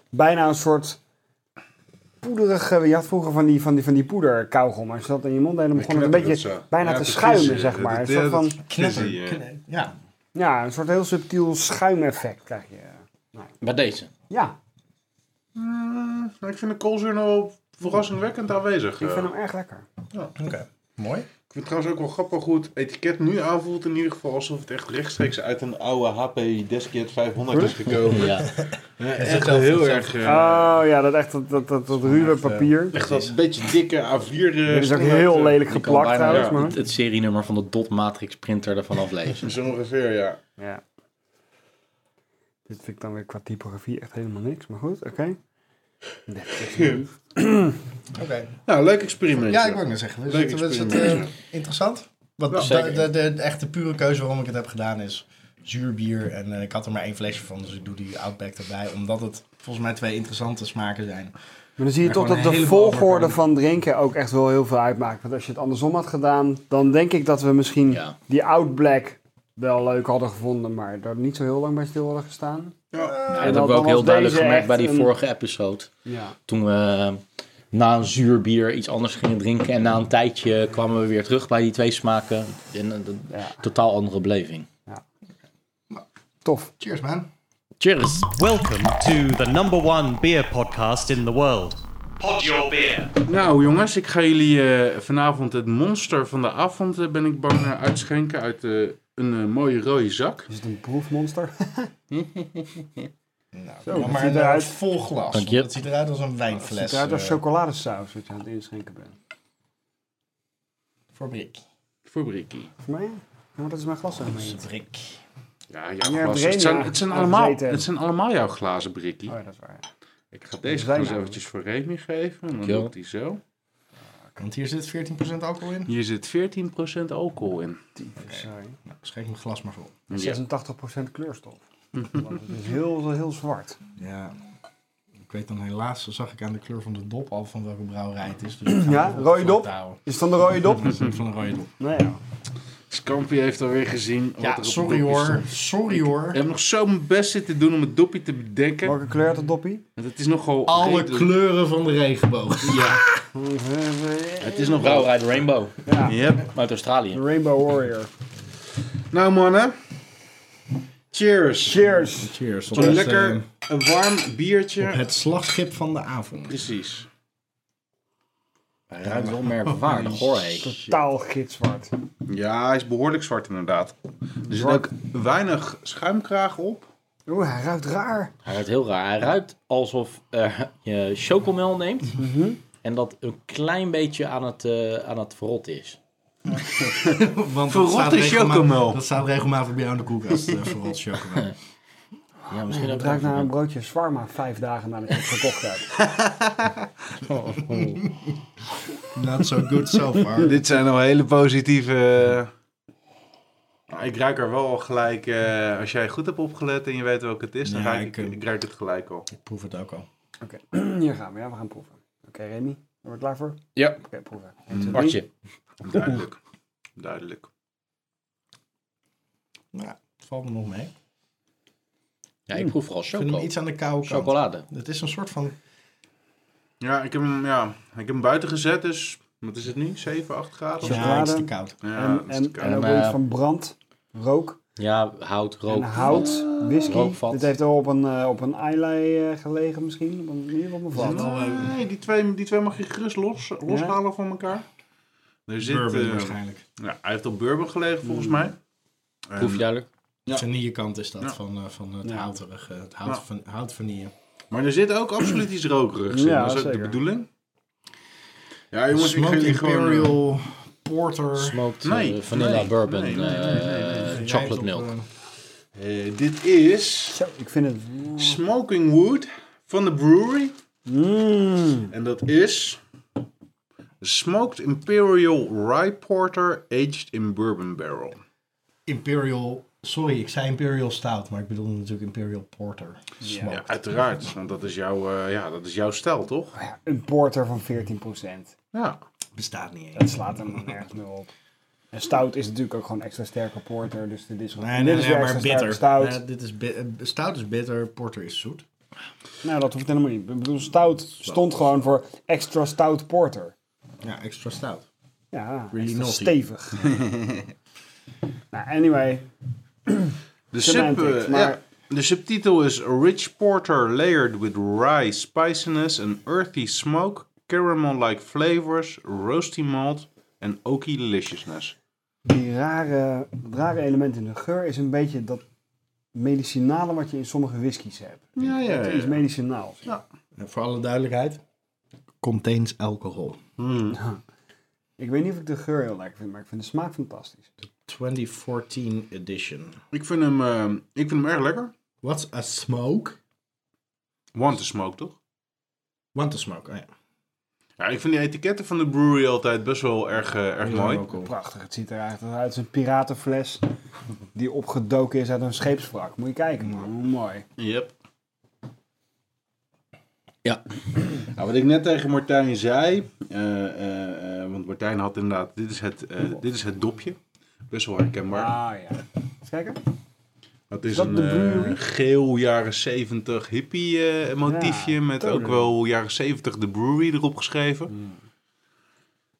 [SPEAKER 2] Bijna een soort poederige... Je had vroeger van die, van die, van die poeder kauwgom. Als je dat in je mond deed, dan begon het een beetje bijna te schuimen, zeg maar. Een soort van...
[SPEAKER 3] Knapper.
[SPEAKER 5] Knapper.
[SPEAKER 3] Kn- Ja.
[SPEAKER 2] Ja, een soort heel subtiel schuimeffect krijg je.
[SPEAKER 1] Bij deze.
[SPEAKER 2] Ja,
[SPEAKER 5] Eh, ik vind de koolzuur nou verrassingwekkend aanwezig.
[SPEAKER 2] ik
[SPEAKER 5] eh.
[SPEAKER 2] vind hem erg lekker.
[SPEAKER 3] Oké. Mooi.
[SPEAKER 5] Ik vind het trouwens ook wel grappig hoe het etiket nu aanvoelt. In ieder geval alsof het echt rechtstreeks uit een oude HP Deskjet 500 is gekomen.
[SPEAKER 1] Ja.
[SPEAKER 5] Ja,
[SPEAKER 3] is
[SPEAKER 5] echt
[SPEAKER 3] hetzelfde,
[SPEAKER 5] heel
[SPEAKER 3] hetzelfde.
[SPEAKER 5] erg... eh,
[SPEAKER 2] Oh ja, dat echt dat, dat, dat, dat ruwe papier.
[SPEAKER 5] echt dat beetje dikke A4. eh,
[SPEAKER 2] Dit is ook
[SPEAKER 5] standaard,
[SPEAKER 2] heel
[SPEAKER 5] eh,
[SPEAKER 1] Je
[SPEAKER 2] lelijk
[SPEAKER 1] kan
[SPEAKER 2] geplakt
[SPEAKER 1] bijna
[SPEAKER 2] trouwens,
[SPEAKER 5] ja.
[SPEAKER 2] maar...
[SPEAKER 1] het, het serienummer van de dot matrix printer ervan aflezen.
[SPEAKER 5] Zo ongeveer, ja.
[SPEAKER 2] Ja. Dit vind ik dan weer qua typografie echt helemaal niks, maar goed, oké. Dat is niet.
[SPEAKER 3] Oké.
[SPEAKER 5] Nou, leuk experiment.
[SPEAKER 3] Ja, ik wou net zeggen. Is
[SPEAKER 5] Leuk
[SPEAKER 3] het, is het
[SPEAKER 5] experiment.
[SPEAKER 3] eh, interessant?
[SPEAKER 1] Ja,
[SPEAKER 3] Want de,
[SPEAKER 1] zeker.
[SPEAKER 3] de, de, de echte pure keuze waarom ik het heb gedaan is zuur bier. En eh, ik had er maar één flesje van, dus ik doe die Outback erbij. Omdat het volgens mij twee interessante smaken zijn.
[SPEAKER 2] Maar dan zie je
[SPEAKER 3] Maar
[SPEAKER 2] toch dat
[SPEAKER 3] gewoon een
[SPEAKER 2] de
[SPEAKER 3] heleboel
[SPEAKER 2] volgorde
[SPEAKER 3] overkomen.
[SPEAKER 2] van drinken ook echt wel heel veel uitmaakt. Want als je het andersom had gedaan, dan denk ik dat we misschien
[SPEAKER 1] Ja.
[SPEAKER 2] die Oud Black wel leuk hadden gevonden, maar daar niet zo heel lang bij stil hadden gestaan.
[SPEAKER 1] Ja,
[SPEAKER 2] En
[SPEAKER 1] dat hebben we
[SPEAKER 2] dan
[SPEAKER 1] ook heel
[SPEAKER 2] was
[SPEAKER 1] duidelijk
[SPEAKER 2] deze
[SPEAKER 1] gemerkt bij
[SPEAKER 2] echt
[SPEAKER 1] die
[SPEAKER 2] een-
[SPEAKER 1] vorige episode.
[SPEAKER 2] Ja.
[SPEAKER 1] Toen we eh, na een zuur bier iets anders gingen drinken. En na een tijdje kwamen we weer terug bij die twee smaken. En een, een
[SPEAKER 2] Ja.
[SPEAKER 1] totaal andere beleving.
[SPEAKER 2] Tof.
[SPEAKER 3] Cheers, man.
[SPEAKER 1] Cheers!
[SPEAKER 4] Welcome to the number one beer podcast in the world. Pod your beer.
[SPEAKER 5] Nou jongens, ik ga jullie eh, vanavond het monster van de avond, eh, ben ik bang, eh, uitschenken uit eh, een eh, mooie rode zak.
[SPEAKER 2] Is het een proefmonster?
[SPEAKER 3] Nou,
[SPEAKER 2] Zo, dat
[SPEAKER 3] maar
[SPEAKER 2] ziet
[SPEAKER 3] een eh,
[SPEAKER 2] eruit.
[SPEAKER 3] vol glas.
[SPEAKER 1] Dank
[SPEAKER 3] want
[SPEAKER 1] je.
[SPEAKER 3] Het ziet eruit als een
[SPEAKER 2] Het
[SPEAKER 3] wijnfles.
[SPEAKER 2] ziet eruit als
[SPEAKER 3] eh,
[SPEAKER 2] chocoladesaus wat je aan het inschenken bent.
[SPEAKER 3] Fabriek.
[SPEAKER 5] Voor Brikkie.
[SPEAKER 2] Voor mij? Ja, maar dat is mijn glas helemaal niet.
[SPEAKER 3] Fabriek.
[SPEAKER 5] Ja, jouw
[SPEAKER 2] hebt
[SPEAKER 5] glazen.
[SPEAKER 2] er
[SPEAKER 5] Het
[SPEAKER 2] een,
[SPEAKER 5] zijn,
[SPEAKER 2] ja,
[SPEAKER 5] het, zijn
[SPEAKER 2] aan
[SPEAKER 5] allemaal,
[SPEAKER 2] gezeten.
[SPEAKER 5] het zijn allemaal jouw glazen Brikkie.
[SPEAKER 2] Oh ja, dat is waar. ja.
[SPEAKER 5] Ik ga deze
[SPEAKER 2] zijn
[SPEAKER 5] gewoon eens
[SPEAKER 2] nou.
[SPEAKER 5] eventjes voor Remy geven. En dan
[SPEAKER 1] Dankjewel.
[SPEAKER 5] doe ik die zo.
[SPEAKER 3] Want hier zit 14% alcohol in.
[SPEAKER 5] Hier zit 14% alcohol in.
[SPEAKER 2] Sorry.
[SPEAKER 3] Nou, schenk mijn glas maar vol.
[SPEAKER 5] Ja.
[SPEAKER 2] 86% eh, kleurstof. Want het is heel, heel zwart.
[SPEAKER 3] Ja. Ik weet dan helaas, zag ik aan de kleur van de dop al van welke brouwerij het is. Dus ik ga
[SPEAKER 2] Ja,
[SPEAKER 3] het
[SPEAKER 2] rode
[SPEAKER 3] vlak
[SPEAKER 2] dop?
[SPEAKER 3] houden.
[SPEAKER 2] Is het dan de rode dop?
[SPEAKER 3] Dat is een van de rode dop.
[SPEAKER 2] Nee, ja.
[SPEAKER 5] Scampi heeft alweer gezien. wat er
[SPEAKER 3] Ja,
[SPEAKER 5] op
[SPEAKER 3] sorry
[SPEAKER 5] het dopje
[SPEAKER 3] hoor.
[SPEAKER 5] stond.
[SPEAKER 3] Sorry hoor.
[SPEAKER 5] Ik heb nog zo mijn best zitten doen om het dopje te bedenken.
[SPEAKER 2] Welke kleur had het doppie?
[SPEAKER 5] Want het is nogal...
[SPEAKER 3] Alle
[SPEAKER 5] redelijk-
[SPEAKER 3] kleuren van de regenboog.
[SPEAKER 5] Ja, het is nogal...
[SPEAKER 1] uit Rainbow
[SPEAKER 2] Ja,
[SPEAKER 5] Yep.
[SPEAKER 1] uit Australië.
[SPEAKER 2] Eh, de Rainbow Warrior.
[SPEAKER 5] Nou mannen. Cheers.
[SPEAKER 2] Cheers!
[SPEAKER 3] Cheers.
[SPEAKER 5] Een lekker,
[SPEAKER 3] eh.
[SPEAKER 5] een warm biertje.
[SPEAKER 3] Het slagschip van de avond.
[SPEAKER 5] Precies.
[SPEAKER 1] Hij ruikt wel merkwaardig hoor. hé.
[SPEAKER 2] Taal gitzwart.
[SPEAKER 5] Ja, hij is behoorlijk zwart inderdaad. Er zit ook
[SPEAKER 2] Zwart.
[SPEAKER 5] weinig schuimkraag op.
[SPEAKER 2] Oeh, hij ruikt raar.
[SPEAKER 1] Hij ruikt heel raar. Hij ruikt alsof eh, je chocomel neemt.
[SPEAKER 2] Mhm.
[SPEAKER 1] En dat een klein beetje aan het, eh, aan het verrotten is.
[SPEAKER 3] Want
[SPEAKER 5] Verrotte
[SPEAKER 3] regelma-
[SPEAKER 5] chocomel.
[SPEAKER 3] Dat staat regelmatig bij jou in de koelkast. eh, Verrot chocomel.
[SPEAKER 1] Ja, misschien
[SPEAKER 2] Het
[SPEAKER 1] ook
[SPEAKER 2] ruikt naar een broodje zwarma vijf dagen nadat ik het gekocht heb.
[SPEAKER 3] Not so good so far.
[SPEAKER 5] Dit zijn al hele positieve... Nou, Ik ruik er wel gelijk, eh, als jij goed hebt opgelet en je weet welke het is, dan
[SPEAKER 3] Ja,
[SPEAKER 5] ruik ik,
[SPEAKER 3] ik, eh,
[SPEAKER 5] ik ruik het gelijk al.
[SPEAKER 3] Ik proef het ook al.
[SPEAKER 2] Oké, hier gaan we. Ja, we gaan proeven. Oké, Remy, ben je er klaar voor? Oké,
[SPEAKER 1] Ja,
[SPEAKER 2] proeven. Eén, twee, drie.
[SPEAKER 1] Bartje.
[SPEAKER 5] Duidelijk. Duidelijk.
[SPEAKER 3] Nou, ja, het valt me nog mee. Ik
[SPEAKER 1] Ja,
[SPEAKER 5] Hmm.
[SPEAKER 1] ik proef vooral
[SPEAKER 3] vind hem
[SPEAKER 1] choco.
[SPEAKER 3] iets aan de koude kant.
[SPEAKER 1] Chocolade.
[SPEAKER 3] Het is een soort van...
[SPEAKER 5] Ja, ik heb hem, ja, ik heb hem buiten gezet, dus wat is het nu? 7, 8 graden? Ja,
[SPEAKER 3] Ja, het is te koud.
[SPEAKER 5] ja
[SPEAKER 2] En,
[SPEAKER 5] dat is
[SPEAKER 2] en,
[SPEAKER 5] te
[SPEAKER 2] en
[SPEAKER 5] koud.
[SPEAKER 2] ook
[SPEAKER 1] En,
[SPEAKER 2] iets
[SPEAKER 1] eh,
[SPEAKER 2] van brand, rook.
[SPEAKER 1] Ja, hout, rook.
[SPEAKER 2] en hout, whisky.
[SPEAKER 1] rookvat.
[SPEAKER 2] Dit heeft al op een, eh, op een eilei eh, gelegen misschien. Op een, hier op een vat.
[SPEAKER 3] eh,
[SPEAKER 5] Nee, die twee, die twee mag je gerust los, loshalen van elkaar. Er zit,
[SPEAKER 3] Bourbon
[SPEAKER 5] eh,
[SPEAKER 3] waarschijnlijk.
[SPEAKER 5] ja, hij heeft op bourbon gelegen volgens mij. En-
[SPEAKER 1] Proef je duidelijk.
[SPEAKER 5] Ja.
[SPEAKER 3] Vanille kant is dat,
[SPEAKER 5] Ja.
[SPEAKER 3] van, eh, van het
[SPEAKER 2] Ja.
[SPEAKER 3] houterige, het hout,
[SPEAKER 5] Ja.
[SPEAKER 3] van, hout vanille.
[SPEAKER 5] maar er zit ook absoluut iets rokerigs in.
[SPEAKER 2] Ja,
[SPEAKER 5] dat is ook de
[SPEAKER 2] zeker.
[SPEAKER 5] bedoeling. Ja, jongens, ik ga
[SPEAKER 3] Smoked
[SPEAKER 5] jullie gewoon... eh,
[SPEAKER 3] Imperial Porter.
[SPEAKER 1] Smoked eh,
[SPEAKER 5] Nee,
[SPEAKER 1] vanilla
[SPEAKER 5] nee,
[SPEAKER 1] bourbon.
[SPEAKER 5] nee,
[SPEAKER 1] eh
[SPEAKER 5] nee, nee, nee, nee.
[SPEAKER 3] gerijpt
[SPEAKER 1] Chocolate
[SPEAKER 3] op,
[SPEAKER 1] milk.
[SPEAKER 3] eh,
[SPEAKER 5] eh, dit is
[SPEAKER 2] Zo, ik vind het...
[SPEAKER 5] Smoking Wood van de brewery.
[SPEAKER 2] Mm.
[SPEAKER 5] En dat is... Smoked Imperial Rye Porter aged in bourbon barrel.
[SPEAKER 3] Imperial, sorry, ik zei Imperial Stout, maar ik bedoel natuurlijk Imperial Porter. Smoked.
[SPEAKER 5] Ja, uiteraard. Want dat is, jouw, eh, ja, dat is jouw stijl, toch?
[SPEAKER 2] Ja, Een porter van 14%.
[SPEAKER 5] Ja.
[SPEAKER 3] Bestaat niet
[SPEAKER 2] Dat
[SPEAKER 3] eens.
[SPEAKER 2] slaat hem dan nergens meer op. En stout is natuurlijk ook gewoon extra sterke porter. Dus dit is,
[SPEAKER 3] Nee,
[SPEAKER 2] dit
[SPEAKER 3] nee,
[SPEAKER 2] is
[SPEAKER 3] nee,
[SPEAKER 2] weer
[SPEAKER 3] maar
[SPEAKER 2] extra sterke
[SPEAKER 3] bitter.
[SPEAKER 2] stout.
[SPEAKER 3] Nee, dit is bi- eh, stout is bitter, porter is zoet.
[SPEAKER 2] Nou, dat hoeft helemaal niet. Ik bedoel, stout stond gewoon voor extra stout porter.
[SPEAKER 3] Ja, extra stout.
[SPEAKER 2] Ja,
[SPEAKER 3] Really
[SPEAKER 2] extra
[SPEAKER 3] naughty.
[SPEAKER 2] stevig. nou, anyway.
[SPEAKER 5] De,
[SPEAKER 2] Semantics,
[SPEAKER 5] eh,
[SPEAKER 2] maar-
[SPEAKER 5] ja, de subtitel is A Rich Porter Layered with Rye Spiciness and Earthy Smoke, Caramel-like Flavors, Roasty Malt en Oki Deliciousness.
[SPEAKER 2] Die rare, dat rare element in de geur is een beetje dat medicinale wat je in sommige whiskies hebt.
[SPEAKER 5] Ja, ja,
[SPEAKER 2] Het is
[SPEAKER 5] ja.
[SPEAKER 2] medicinaal.
[SPEAKER 3] En voor alle duidelijkheid, contains alcohol.
[SPEAKER 5] Hmm.
[SPEAKER 2] Ik weet niet of ik de geur heel lekker vind, maar ik vind de smaak fantastisch.
[SPEAKER 3] 2014 edition.
[SPEAKER 5] Ik, vind hem, eh, ik vind hem erg lekker.
[SPEAKER 3] What's a smoke?
[SPEAKER 5] Want to smoke, toch?
[SPEAKER 3] Want to smoke, oh ja.
[SPEAKER 5] Ja, ik vind die etiketten van de brewery altijd best wel erg, eh, erg mooi.
[SPEAKER 2] Prachtig, het ziet eruit uit als een piratenfles die opgedoken is uit een scheepswrak. Moet je kijken man, hoe mooi.
[SPEAKER 5] Yep. Ja. Nou, wat ik net tegen Martijn zei, eh, eh, eh, want Martijn had inderdaad, dit is het, eh, dit is het dopje. Best wel herkenbaar.
[SPEAKER 2] Ah ja. Eens kijken.
[SPEAKER 5] Dat is,
[SPEAKER 2] dat
[SPEAKER 5] een
[SPEAKER 2] de
[SPEAKER 5] eh,
[SPEAKER 2] brewery?
[SPEAKER 5] geel jaren 70 hippie eh, motiefje
[SPEAKER 2] Ja,
[SPEAKER 5] met ook
[SPEAKER 2] totally.
[SPEAKER 5] wel jaren 70 de brewery erop geschreven. Hmm.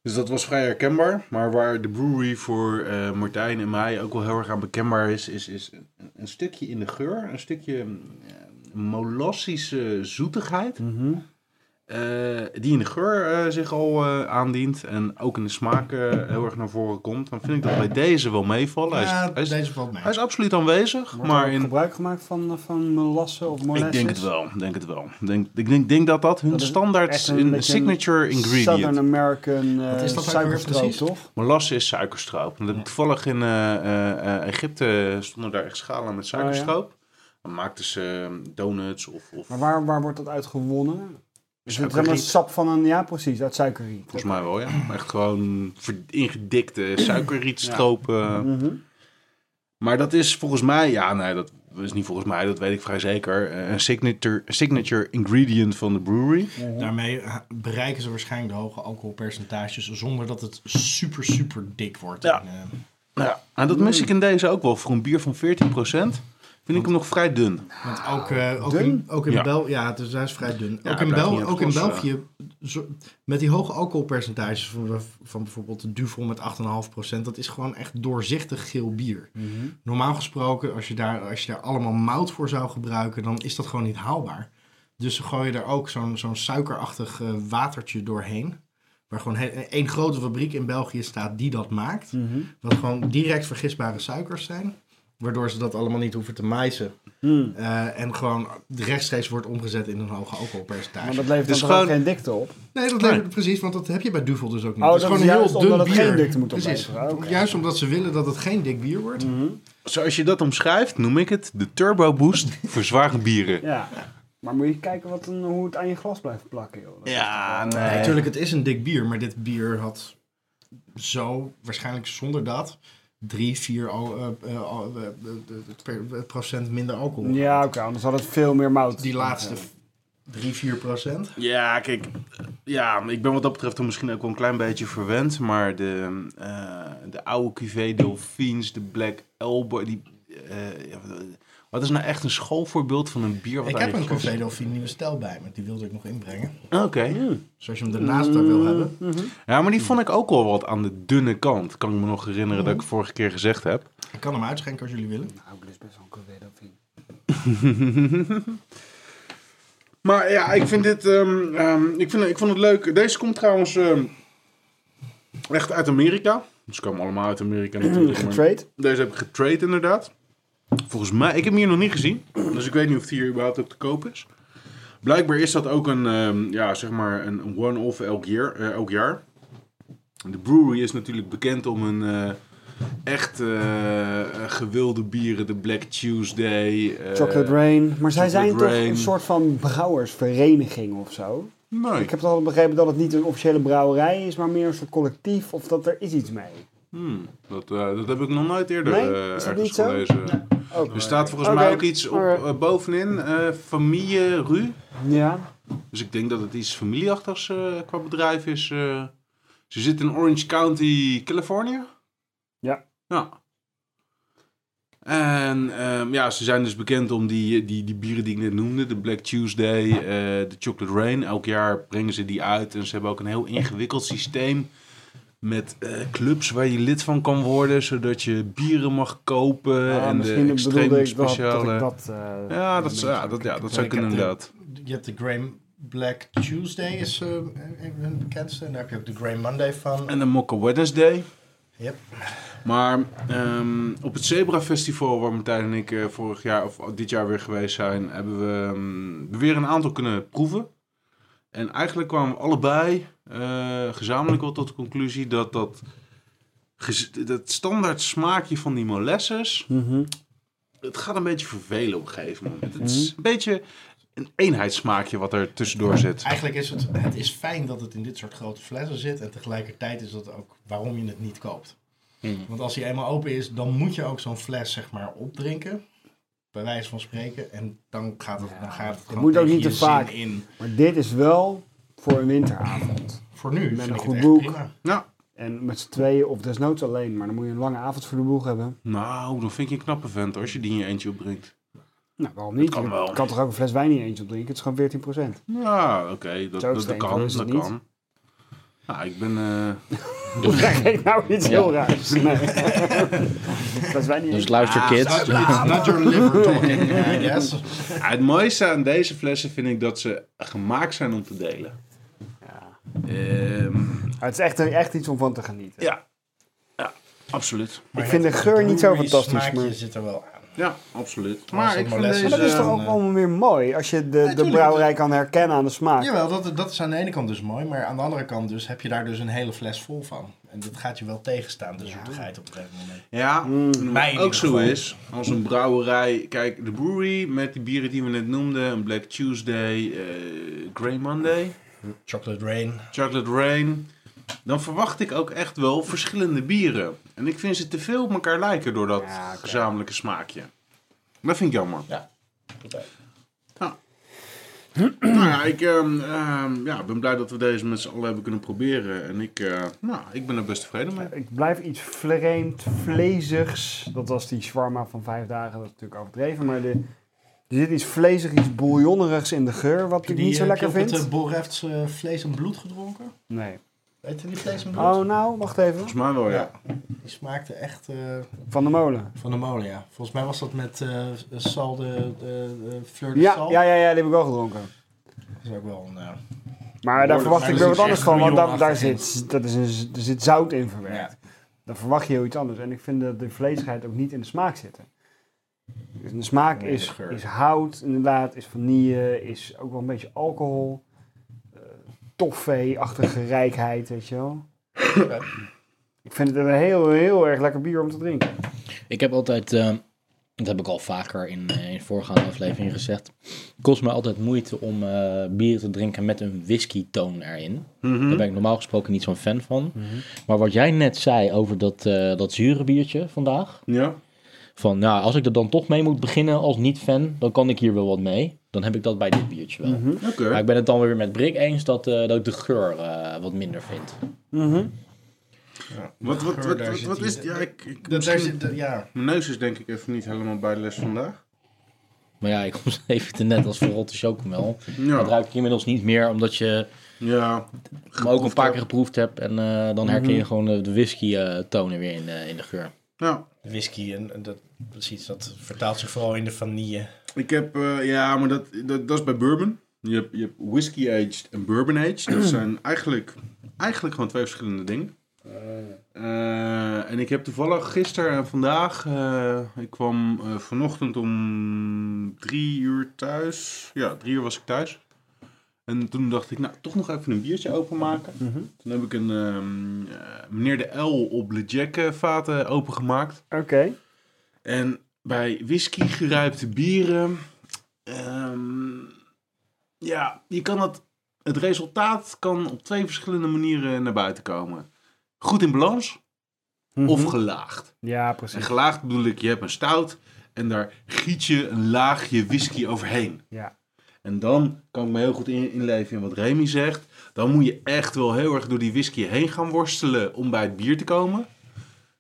[SPEAKER 5] Dus dat was vrij herkenbaar. Maar waar de brewery voor eh, Martijn en mij ook wel heel erg aan bekendbaar is, is, is een, een stukje in de geur, een stukje eh, molassische zoetigheid. eh, die in de geur eh, zich al eh, aandient en ook in de smaak eh, heel erg naar voren komt. Dan vind ik dat bij deze wel meevallen. Hij is-
[SPEAKER 3] Ja,
[SPEAKER 5] hij is
[SPEAKER 3] deze valt mee.
[SPEAKER 5] hij is absoluut aanwezig,
[SPEAKER 2] Wordt er
[SPEAKER 5] maar
[SPEAKER 2] ook
[SPEAKER 5] in...
[SPEAKER 2] gebruik gemaakt van, van molassen of molasses?
[SPEAKER 5] Ik denk het wel, ik denk het wel. Ik denk, ik denk, denk dat dat hun
[SPEAKER 2] Dat is
[SPEAKER 5] standaard
[SPEAKER 2] echt een
[SPEAKER 5] in
[SPEAKER 2] beetje
[SPEAKER 5] signature
[SPEAKER 2] een Southern
[SPEAKER 5] ingredient.
[SPEAKER 2] American eh,
[SPEAKER 3] Wat is dat ook weer
[SPEAKER 2] suikerstroop,
[SPEAKER 3] precies?
[SPEAKER 2] toch?
[SPEAKER 5] Molasse is suikerstroop. En dat- Toevallig in eh, eh, eh, Egypte stonden daar echt schalen
[SPEAKER 2] Oh,
[SPEAKER 5] met suikerstroop. Dan maakten ze eh, donuts of... of
[SPEAKER 2] Maar waar, waar wordt dat uit gewonnen? Is het helemaal
[SPEAKER 5] Suikerriet.
[SPEAKER 2] sap van een... Ja, precies, uit suikerriet.
[SPEAKER 5] Volgens mij wel, ja. Echt gewoon ver- ingedikte suikerrietstroop. eh.
[SPEAKER 2] Mhm.
[SPEAKER 5] Maar dat is volgens mij, ja, nee, dat is niet volgens mij, dat weet ik vrij zeker. eh, Een signature, signature ingredient van de brewery.
[SPEAKER 3] Daarmee ha- bereiken ze waarschijnlijk de hoge alcoholpercentages zonder dat het super, super dik wordt.
[SPEAKER 5] Ja.
[SPEAKER 3] En, eh,
[SPEAKER 5] Ja, Hmm. en Nou, dat mis ik in deze ook wel. Voor een bier van 14% vind ik hem nog vrij dun.
[SPEAKER 3] want ook, eh, ook in,
[SPEAKER 2] Dun?
[SPEAKER 3] ook in
[SPEAKER 5] Ja.
[SPEAKER 3] Bel, ja, het is, hij is vrij dun.
[SPEAKER 5] Ja,
[SPEAKER 3] ook
[SPEAKER 5] hij
[SPEAKER 3] in,
[SPEAKER 5] blijft
[SPEAKER 3] Bel,
[SPEAKER 5] niet
[SPEAKER 3] ook in
[SPEAKER 5] oplossen.
[SPEAKER 3] België, zo- met die hoge alcoholpercentages van, van bijvoorbeeld de Duvel met 8,5%, dat is gewoon echt doorzichtig geel bier. Normaal gesproken, als je, daar, als je daar allemaal mout voor zou gebruiken, dan is dat gewoon niet haalbaar. Dus ze gooien er ook zo'n zo'n suikerachtig eh, watertje doorheen. Waar gewoon he- één grote fabriek in België staat die dat maakt.
[SPEAKER 2] Mhm.
[SPEAKER 3] Wat gewoon direct vergisbare suikers zijn. Waardoor ze dat allemaal niet hoeven te maizen.
[SPEAKER 2] Mm.
[SPEAKER 3] Eh, en gewoon rechtstreeks wordt omgezet in een hoge alcoholpercentage.
[SPEAKER 2] Maar dat levert
[SPEAKER 5] Dus
[SPEAKER 2] dan
[SPEAKER 5] gewoon-
[SPEAKER 2] gewoon... geen dikte op.
[SPEAKER 3] Nee, dat levert precies, want dat heb je bij Duvel dus ook niet.
[SPEAKER 2] Oh,
[SPEAKER 3] Het
[SPEAKER 2] dat is juist omdat het geen dikte moet
[SPEAKER 3] Precies.
[SPEAKER 2] opleveren, oké.
[SPEAKER 3] Juist omdat ze willen dat het geen dik bier wordt.
[SPEAKER 5] Zoals je dat omschrijft, noem ik het de Turbo Boost voor zware bieren.
[SPEAKER 2] Ja. Maar moet je kijken wat een, hoe het aan je glas blijft plakken, joh. Dat-
[SPEAKER 5] Ja,
[SPEAKER 3] Nee,
[SPEAKER 5] nee.
[SPEAKER 3] natuurlijk, het is een dik bier, maar dit bier had zo waarschijnlijk zonder dat drie, vier al, eh, eh, al- eh, eh, per- per- procent minder alcohol.
[SPEAKER 2] Ja, oké, anders had het veel meer mout.
[SPEAKER 3] Die laatste f- drie, vier procent.
[SPEAKER 5] Ja, kijk. Ja, ik ben wat dat betreft er misschien ook wel een klein beetje verwend. Maar de, eh, de oude cuvée Delphines, de Black Elbow... Die, eh, ja, wat is nou echt een schoolvoorbeeld van een bier? Wat
[SPEAKER 3] Ik
[SPEAKER 5] aan
[SPEAKER 3] heb
[SPEAKER 5] je
[SPEAKER 3] een
[SPEAKER 5] glas-
[SPEAKER 3] Café Dauphine nieuwe stijl bij me, die wilde ik nog inbrengen.
[SPEAKER 5] Oké.
[SPEAKER 3] Dus als je hem daarnaast daar wil hebben.
[SPEAKER 5] Ja, maar die vond ik ook al wat aan de dunne kant. Kan ik me nog herinneren dat ik vorige keer gezegd heb.
[SPEAKER 3] Ik kan hem uitschenken als jullie willen.
[SPEAKER 2] Nou, dit is best wel een cuvée dauphine.
[SPEAKER 5] Maar ja, ik vind dit. ehm, ehm, ik, vind, ik vond het leuk. Deze komt trouwens ehm, echt uit Amerika. Dus Ze komen allemaal uit Amerika natuurlijk. maar
[SPEAKER 2] Getrade?
[SPEAKER 5] Deze heb ik getrade inderdaad. Volgens mij, ik heb hem hier nog niet gezien. Dus ik weet niet of die hier überhaupt ook te koop is. Blijkbaar is dat ook een, ehm, ja, zeg maar een een one-off elk, jaar- eh, elk jaar. De brewery is natuurlijk bekend om hun eh, echt eh, gewilde bieren. De Black Tuesday. eh,
[SPEAKER 2] Chocolate Rain. Maar zij zijn
[SPEAKER 5] Chocolate
[SPEAKER 2] toch
[SPEAKER 5] Rain.
[SPEAKER 2] een soort van brouwersvereniging of zo?
[SPEAKER 5] Nee.
[SPEAKER 2] Ik heb het altijd begrepen dat het niet een officiële brouwerij is, maar meer een soort collectief of dat er is iets mee.
[SPEAKER 5] Hmm, dat, eh, dat heb ik nog nooit eerder
[SPEAKER 2] Nee?
[SPEAKER 5] eh,
[SPEAKER 2] Is dat
[SPEAKER 5] ergens
[SPEAKER 2] niet zo?
[SPEAKER 5] gelezen.
[SPEAKER 2] Ook.
[SPEAKER 5] Er staat volgens
[SPEAKER 2] Oké.
[SPEAKER 5] mij ook iets op,
[SPEAKER 2] Oké.
[SPEAKER 5] eh, bovenin, eh, familie Ru.
[SPEAKER 2] Ja.
[SPEAKER 5] Dus ik denk dat het iets familieachtigs eh, qua bedrijf is. eh. ze zitten in Orange County, Californië.
[SPEAKER 2] Ja.
[SPEAKER 5] Ja. En ehm, ja, ze zijn dus bekend om die, die, die bieren die ik net noemde. De Black Tuesday, eh, de Chocolate Rain. Elk jaar brengen ze die uit. En ze hebben ook een heel ingewikkeld systeem. Met eh, clubs waar je lid van kan worden. Zodat je bieren mag kopen.
[SPEAKER 2] Ah,
[SPEAKER 5] en de
[SPEAKER 2] misschien bedoelde
[SPEAKER 5] extreem
[SPEAKER 2] ik dat, dat
[SPEAKER 5] speciale...
[SPEAKER 2] ik dat... eh,
[SPEAKER 5] ja, dat,
[SPEAKER 2] een
[SPEAKER 5] zou- ja,
[SPEAKER 2] beetje-
[SPEAKER 5] dat, ja, dat
[SPEAKER 3] Ik
[SPEAKER 5] zou
[SPEAKER 3] heb de-
[SPEAKER 5] kunnen inderdaad.
[SPEAKER 3] Je hebt de Graham Black Tuesday is eh, een hun bekendste. En daar heb je ook de Grey Monday van.
[SPEAKER 5] En de Mokka Wednesday.
[SPEAKER 3] Yep.
[SPEAKER 5] Maar ehm, op het Zebra Festival, waar Martijn en ik eh, vorig jaar of dit jaar weer geweest zijn, hebben we ehm, weer een aantal kunnen proeven. En eigenlijk kwamen we allebei eh, gezamenlijk wel tot de conclusie dat dat, gez- dat standaard smaakje van die molasses, het gaat een beetje vervelen op een gegeven moment. Het is een beetje een eenheidssmaakje wat er tussendoor zit.
[SPEAKER 3] Eigenlijk is het, het is fijn dat het in dit soort grote flessen zit. En tegelijkertijd is dat ook waarom je het niet koopt. Want als die eenmaal open is, dan moet je ook zo'n fles zeg maar opdrinken. Bij wijze van spreken. En dan gaat het, dan gaat het gewoon
[SPEAKER 2] moet ook
[SPEAKER 3] tegen
[SPEAKER 2] niet
[SPEAKER 3] je
[SPEAKER 2] te
[SPEAKER 3] zin
[SPEAKER 2] vaak.
[SPEAKER 3] in.
[SPEAKER 2] Maar dit is wel voor een winteravond.
[SPEAKER 3] Voor nu vind
[SPEAKER 2] een
[SPEAKER 3] ik
[SPEAKER 2] goed
[SPEAKER 3] het
[SPEAKER 2] boek.
[SPEAKER 3] echt prima.
[SPEAKER 5] Nou,
[SPEAKER 2] En met z'n tweeën, of desnoods alleen, maar dan moet je een lange avond voor de boeg hebben.
[SPEAKER 5] nou, dan vind ik je een knappe vent als je die in je eentje opbrengt.
[SPEAKER 2] Nou, waarom niet?
[SPEAKER 5] Kan
[SPEAKER 2] Je
[SPEAKER 5] wel.
[SPEAKER 2] kan toch ook een fles wijn in je eentje op drinken? Het is gewoon 14 procent.
[SPEAKER 5] Ja, oké, dat,
[SPEAKER 2] Zo
[SPEAKER 5] dat, dat
[SPEAKER 2] streng
[SPEAKER 5] kan,
[SPEAKER 2] is het
[SPEAKER 5] dat
[SPEAKER 2] niet.
[SPEAKER 5] kan. Nou, ik ben... eh,
[SPEAKER 2] nou iets heel raars. Nee. fles wijn in je
[SPEAKER 1] Dus
[SPEAKER 5] Ah,
[SPEAKER 2] eentje.
[SPEAKER 1] luister kids.
[SPEAKER 3] It's not your liver talking, I guess.
[SPEAKER 5] ja, het mooiste aan deze flessen vind ik dat ze gemaakt zijn om te delen. Ehm,
[SPEAKER 2] Maar het is echt, echt iets om van te genieten.
[SPEAKER 5] ja. ja, absoluut.
[SPEAKER 2] ik vind de geur niet zo
[SPEAKER 3] Blueberry
[SPEAKER 2] fantastisch.
[SPEAKER 3] smaakje
[SPEAKER 2] Maar...
[SPEAKER 3] zit er wel aan.
[SPEAKER 5] Ja, absoluut.
[SPEAKER 3] Als
[SPEAKER 5] Maar
[SPEAKER 3] het
[SPEAKER 5] ik vind
[SPEAKER 3] molessen-
[SPEAKER 5] deze...
[SPEAKER 2] Maar dat is toch
[SPEAKER 3] een,
[SPEAKER 2] ook
[SPEAKER 3] eh,
[SPEAKER 2] allemaal weer mooi als je de, de
[SPEAKER 3] tuurlijk.
[SPEAKER 2] brouwerij kan herkennen aan de smaak.
[SPEAKER 3] Jawel, dat, dat is aan de ene kant dus mooi, maar aan de andere kant dus heb je daar dus een hele fles vol van. En dat gaat je wel tegenstaan, de zoetigheid op een gegeven moment.
[SPEAKER 5] Ja, en
[SPEAKER 3] Mij in
[SPEAKER 5] wat
[SPEAKER 3] ieder
[SPEAKER 5] ook zo
[SPEAKER 3] Mm. geval.
[SPEAKER 5] is, als een brouwerij... Kijk, de brewery met die bieren die we net noemden... Een Black Tuesday, eh Grey Monday...
[SPEAKER 3] Chocolate Rain.
[SPEAKER 5] Chocolate Rain. Dan verwacht ik ook echt wel verschillende bieren. En ik vind ze te veel op elkaar lijken door dat
[SPEAKER 2] Ja, oké.
[SPEAKER 5] gezamenlijke smaakje. Dat vind ik jammer.
[SPEAKER 3] Ja.
[SPEAKER 5] Nou ja, ik ehm, ehm, ja, ben blij dat we deze met z'n allen hebben kunnen proberen. En ik, eh, nou, ik ben er best tevreden mee.
[SPEAKER 2] Ik blijf iets vreemd, vleesigs. Dat was die shawarma van vijf dagen, dat is natuurlijk overdreven. Maar de, er zit iets vleesig, iets bouillonnerigs in de geur, wat ik niet zo lekker
[SPEAKER 3] Heb
[SPEAKER 2] vind.
[SPEAKER 3] je op het eh, Borrefts eh, vlees en bloed gedronken?
[SPEAKER 2] Nee.
[SPEAKER 3] Weet je die vlees en bloed?
[SPEAKER 2] Oh, nou, wacht even.
[SPEAKER 5] Volgens mij wel, ja.
[SPEAKER 3] Die smaakte echt eh,
[SPEAKER 2] Van de molen.
[SPEAKER 3] van de molen, ja. Volgens mij was dat met eh sal de, de, de fleur de
[SPEAKER 2] Ja,
[SPEAKER 3] sal.
[SPEAKER 2] ja, ja, ja, die heb ik wel gedronken.
[SPEAKER 3] Dat is ook wel een... eh,
[SPEAKER 2] Maar daar
[SPEAKER 3] Behoorlijk,
[SPEAKER 2] verwacht
[SPEAKER 3] maar
[SPEAKER 2] ik
[SPEAKER 3] er
[SPEAKER 2] weer wat anders
[SPEAKER 3] zit dus echt
[SPEAKER 2] van, want daar, daar,
[SPEAKER 3] bouillonachtig in.
[SPEAKER 2] zit, dat is een, er zit zout in verwerkt.
[SPEAKER 3] ja.
[SPEAKER 2] Dan verwacht je heel iets anders. En ik vind dat de vleesigheid ook niet in de smaak zitten. Dus de smaak
[SPEAKER 3] Nee, de
[SPEAKER 2] is,
[SPEAKER 3] geur.
[SPEAKER 2] is hout, inderdaad, is vanille, is ook wel een beetje alcohol. eh, Toffee-achtige rijkheid, weet je wel. ik vind het een heel, heel erg lekker bier om te drinken.
[SPEAKER 1] Ik heb altijd, eh, dat heb ik al vaker in, eh, in voorgaande afleveringen gezegd. Het kost me altijd moeite om eh, bier te drinken met een whisky toon erin.
[SPEAKER 5] Mhm.
[SPEAKER 1] Daar ben ik normaal gesproken niet zo'n fan van. Maar wat jij net zei over dat, eh, dat zure biertje vandaag.
[SPEAKER 5] Ja.
[SPEAKER 1] Van nou, als ik er dan toch mee moet beginnen als niet-fan, dan kan ik hier wel wat mee. Dan heb ik dat bij dit biertje wel.
[SPEAKER 5] Oké.
[SPEAKER 1] Maar ik ben het dan weer met Brik eens dat, eh, dat ik de geur eh, wat minder vind.
[SPEAKER 5] Wat, wat,
[SPEAKER 3] Geur,
[SPEAKER 5] wat,
[SPEAKER 3] daar
[SPEAKER 5] wat,
[SPEAKER 3] zit
[SPEAKER 5] wat
[SPEAKER 3] die-
[SPEAKER 5] is... Ja, ik, ik-
[SPEAKER 3] Dat, daar
[SPEAKER 5] misschien-
[SPEAKER 3] zit, de- ja.
[SPEAKER 5] Mijn neus is denk ik even niet helemaal bij de les vandaag.
[SPEAKER 1] Maar ja, ik omschreef het er net als verrotte chocomel. Dat
[SPEAKER 5] Ja.
[SPEAKER 1] ruik ik inmiddels niet meer, omdat je
[SPEAKER 5] Ja.
[SPEAKER 1] hem ook een paar
[SPEAKER 5] heb.
[SPEAKER 1] keer geproefd hebt. En eh, dan herken je gewoon eh, de whisky-tonen weer in, eh, in de geur.
[SPEAKER 5] ja.
[SPEAKER 3] Whisky en en dat, precies, dat vertaalt zich vooral in de vanille.
[SPEAKER 5] Ik heb, eh, ja, maar dat, dat, dat is bij bourbon. Je hebt, je hebt whisky aged en bourbon aged. Dat zijn eigenlijk, eigenlijk gewoon twee verschillende dingen. Eh, en ik heb toevallig gisteren en vandaag, eh, ik kwam eh, vanochtend om drie uur thuis. Ja, drie uur was ik thuis. En toen dacht ik, nou, toch nog even een biertje openmaken. Toen heb ik een ehm, eh, meneer de L op Le Jack eh, vaten opengemaakt.
[SPEAKER 2] Oké.
[SPEAKER 5] En bij whisky geruipte bieren. ehm, ja, je kan het, het resultaat kan op twee verschillende manieren naar buiten komen. Goed in balans
[SPEAKER 2] Mhm.
[SPEAKER 5] of gelaagd.
[SPEAKER 2] Ja,
[SPEAKER 5] En
[SPEAKER 2] precies.
[SPEAKER 5] gelaagd bedoel ik, je hebt een stout en daar giet je een laagje whisky overheen.
[SPEAKER 2] Ja.
[SPEAKER 5] En dan kan ik me heel goed in, inleven in wat Remy zegt. Dan moet je echt wel heel erg door die whisky heen gaan worstelen om bij het bier te komen.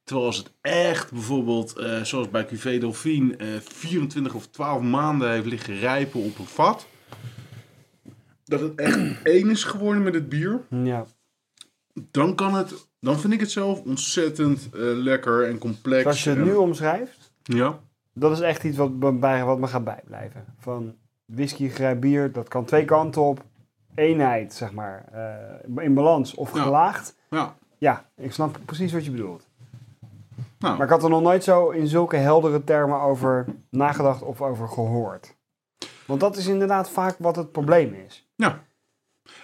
[SPEAKER 5] Terwijl als het echt bijvoorbeeld, eh, zoals bij Cuvée Delphine, eh, 24 of 12 maanden heeft liggen rijpen op een vat. Dat het echt één is geworden met het bier.
[SPEAKER 2] ja.
[SPEAKER 5] Dan kan het, dan vind ik het zelf ontzettend eh, lekker en complex.
[SPEAKER 2] Als je het
[SPEAKER 5] en-
[SPEAKER 2] nu omschrijft,
[SPEAKER 5] Ja,
[SPEAKER 2] dat is echt iets wat, me bij, wat me gaat bijblijven. Van whisky, grijp bier, dat kan twee kanten op. eenheid, zeg maar, eh, in balans of
[SPEAKER 5] Ja.
[SPEAKER 2] gelaagd.
[SPEAKER 5] Ja.
[SPEAKER 2] Ja, ik snap precies wat je bedoelt.
[SPEAKER 5] Nou.
[SPEAKER 2] Maar ik had er nog nooit zo in zulke heldere termen over nagedacht of over gehoord. Want dat is inderdaad vaak wat het probleem is.
[SPEAKER 5] ja.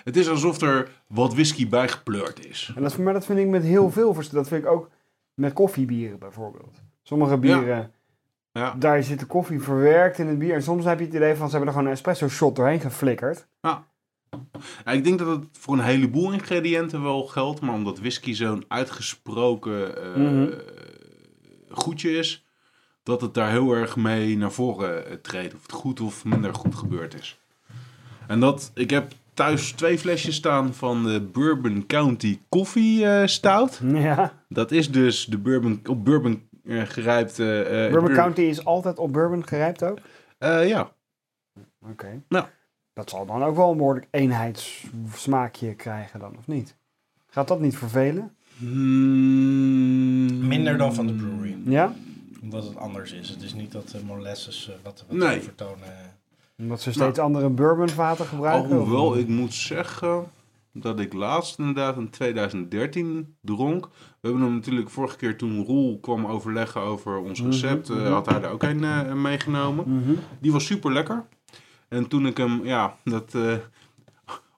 [SPEAKER 5] Het is alsof er wat whisky bij gepleurd is.
[SPEAKER 2] En dat, maar dat vind ik met heel veel verschillen. Dat vind ik ook met koffiebieren bijvoorbeeld. Sommige bieren,
[SPEAKER 5] Ja.
[SPEAKER 2] daar zit de koffie verwerkt in het bier. En soms heb je het idee van ze hebben er gewoon een espresso shot doorheen geflikkerd.
[SPEAKER 5] Ja, ik denk dat het voor een heleboel ingrediënten wel geldt, maar omdat whisky zo'n uitgesproken eh,
[SPEAKER 2] Mhm.
[SPEAKER 5] goedje is, dat het daar heel erg mee naar voren eh, treedt. Of het goed of minder goed gebeurd is. En dat, ik heb thuis twee flesjes staan van de Bourbon County Coffee eh, Stout.
[SPEAKER 2] Ja.
[SPEAKER 5] Dat is dus de bourbon, op bourbon eh, gerijpte... eh,
[SPEAKER 2] Bourbon
[SPEAKER 5] bur-
[SPEAKER 2] County is altijd op bourbon gerijpt ook? Oké.
[SPEAKER 5] Eh, ja, Nou.
[SPEAKER 2] Dat zal dan ook wel een behoorlijk eenheidssmaakje krijgen dan, of niet? Gaat dat niet vervelen?
[SPEAKER 5] Hmm.
[SPEAKER 3] Minder dan van de brewery.
[SPEAKER 2] Ja?
[SPEAKER 3] Omdat het anders is. Het is niet dat de molasses eh, wat, wat
[SPEAKER 5] Nee.
[SPEAKER 3] we vertonen. eh.
[SPEAKER 2] Omdat ze steeds andere bourbonvaten gebruiken? of-
[SPEAKER 5] Nou. Alhoewel, ik moet zeggen dat ik laatst inderdaad in 2013 dronk. We hebben hem natuurlijk vorige keer toen Roel kwam overleggen over ons recept, eh, had hij daar ook een eh, meegenomen.
[SPEAKER 2] Mhm.
[SPEAKER 5] Die was super lekker. En toen ik hem, ja, dat, eh,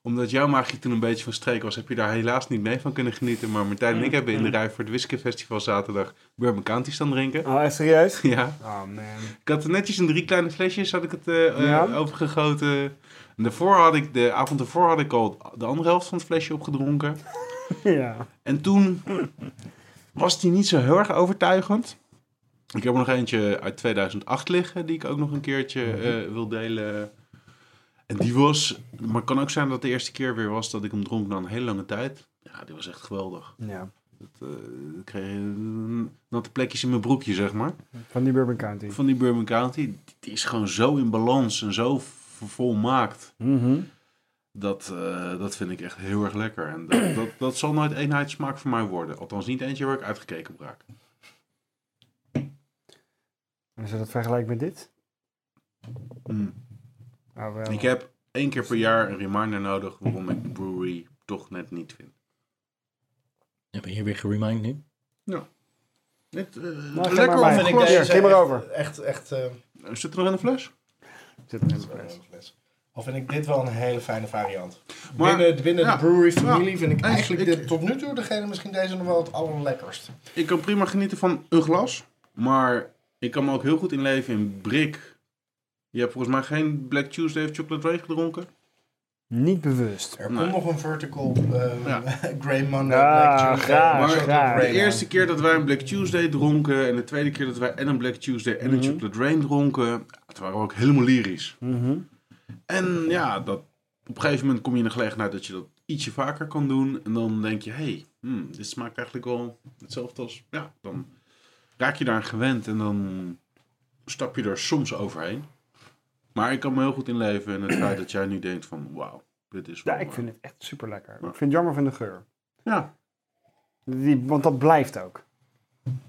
[SPEAKER 5] omdat jouw magie toen een beetje van streek was, heb je daar helaas niet mee van kunnen genieten. Maar Martijn en ik hebben in de rij voor het Whisky Festival zaterdag Bourbon County staan drinken.
[SPEAKER 2] Oh, echt serieus?
[SPEAKER 5] Ja,
[SPEAKER 2] Oh man.
[SPEAKER 5] ik had netjes in drie kleine flesjes had ik het eh, eh,
[SPEAKER 2] Ja.
[SPEAKER 5] overgegoten. En daarvoor had ik, de avond daarvoor had ik al de andere helft van het flesje opgedronken.
[SPEAKER 2] ja.
[SPEAKER 5] En toen was die niet zo heel erg overtuigend. Ik heb er nog eentje uit 2008 liggen, die ik ook nog een keertje eh, wil delen. En die was, maar het kan ook zijn dat het de eerste keer weer was dat ik hem dronk na een hele lange tijd. Ja, die was echt geweldig.
[SPEAKER 2] Ja.
[SPEAKER 5] Dat, eh, ik kreeg eh, natte plekjes in mijn broekje, zeg maar
[SPEAKER 2] Van die Bourbon County.
[SPEAKER 5] van die Bourbon County, die is gewoon zo in balans en zo v- volmaakt.
[SPEAKER 2] Mhm.
[SPEAKER 5] Dat, eh, dat vind ik echt heel erg lekker. En dat, dat, dat zal nooit eenheidssmaak voor mij worden. Althans, niet eentje waar ik uitgekeken op raak.
[SPEAKER 2] En is dat vergelijk met dit?
[SPEAKER 5] Mm.
[SPEAKER 2] Oh, wel.
[SPEAKER 5] Ik heb één keer per jaar een reminder nodig waarom ik brewery toch net niet vind.
[SPEAKER 1] ben je weer geremind nu?
[SPEAKER 5] Net, eh,
[SPEAKER 2] geef
[SPEAKER 5] lekker
[SPEAKER 2] maar
[SPEAKER 5] of
[SPEAKER 2] bij.
[SPEAKER 5] een
[SPEAKER 2] Vind ik
[SPEAKER 5] glas.
[SPEAKER 2] deze- geef maar
[SPEAKER 3] echt-
[SPEAKER 2] over.
[SPEAKER 3] Echt, echt. eh,
[SPEAKER 5] Zit er nog in de fles?
[SPEAKER 2] Zit er in de fles.
[SPEAKER 3] fles. Al vind ik dit wel een hele fijne variant.
[SPEAKER 5] Maar-
[SPEAKER 3] binnen binnen
[SPEAKER 5] ja.
[SPEAKER 3] de brewery familie vind ik
[SPEAKER 5] Nee,
[SPEAKER 3] eigenlijk
[SPEAKER 5] ik-
[SPEAKER 3] dit, tot nu toe degene misschien deze nog wel het allerlekkerst.
[SPEAKER 5] Ik kan prima genieten van een glas. Maar ik kan me ook heel goed inleven in Brik. Je hebt volgens mij geen Black Tuesday of Chocolate Rage gedronken.
[SPEAKER 2] Niet bewust.
[SPEAKER 3] Er
[SPEAKER 5] Nee.
[SPEAKER 3] komt nog een vertical eh
[SPEAKER 5] Ja,
[SPEAKER 3] Grey Monday
[SPEAKER 2] Ja,
[SPEAKER 3] Black Tuesday.
[SPEAKER 2] graag,
[SPEAKER 3] maar-
[SPEAKER 5] graag.
[SPEAKER 3] Chocolate
[SPEAKER 5] De
[SPEAKER 3] Grey Man.
[SPEAKER 5] eerste keer dat wij een Black Tuesday dronken en de tweede keer dat wij en een Black Tuesday en een Chocolate Rain dronken, ja, het waren we ook helemaal lyrisch.
[SPEAKER 2] Mhm.
[SPEAKER 5] En ja, dat, op een gegeven moment kom je in de gelegenheid dat je dat ietsje vaker kan doen en dan denk je, hé, hey, hmm, dit smaakt eigenlijk wel hetzelfde als, ja, dan raak je daar gewend en dan stap je er soms overheen. Maar ik kan me heel goed inleven in het feit dat jij nu denkt van, wauw, dit is wel...
[SPEAKER 2] Ja, ik
[SPEAKER 5] eh,
[SPEAKER 2] vind het echt super lekker. Ik
[SPEAKER 5] Ja.
[SPEAKER 2] vind het jammer van de geur.
[SPEAKER 5] Ja.
[SPEAKER 2] Die, want dat blijft ook.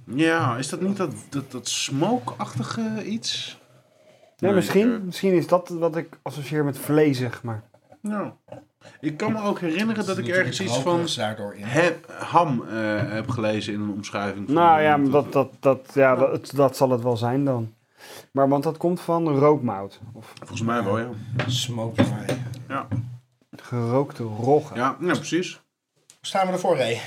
[SPEAKER 5] ja, is dat niet dat, dat, dat smoke-achtige iets?
[SPEAKER 2] Nee,
[SPEAKER 5] Nee,
[SPEAKER 2] misschien,
[SPEAKER 5] eh.
[SPEAKER 2] misschien is dat wat ik associeer met vlezig, maar...
[SPEAKER 5] Nou, ik kan me ook herinneren dat ik
[SPEAKER 3] Natuurlijk
[SPEAKER 5] ergens iets van
[SPEAKER 3] rokerigs daardoor in.
[SPEAKER 5] he- ham eh, heb gelezen in een omschrijving. van-
[SPEAKER 2] Nou ja, maar dat, dat, dat, ja dat, het- dat zal het wel zijn dan. Maar want dat komt van rookmout. Of
[SPEAKER 5] Volgens mij wel, ja.
[SPEAKER 3] Smoked fry.
[SPEAKER 2] gerookte roggen.
[SPEAKER 5] Ja, ja precies.
[SPEAKER 3] Staan we ervoor, Ray?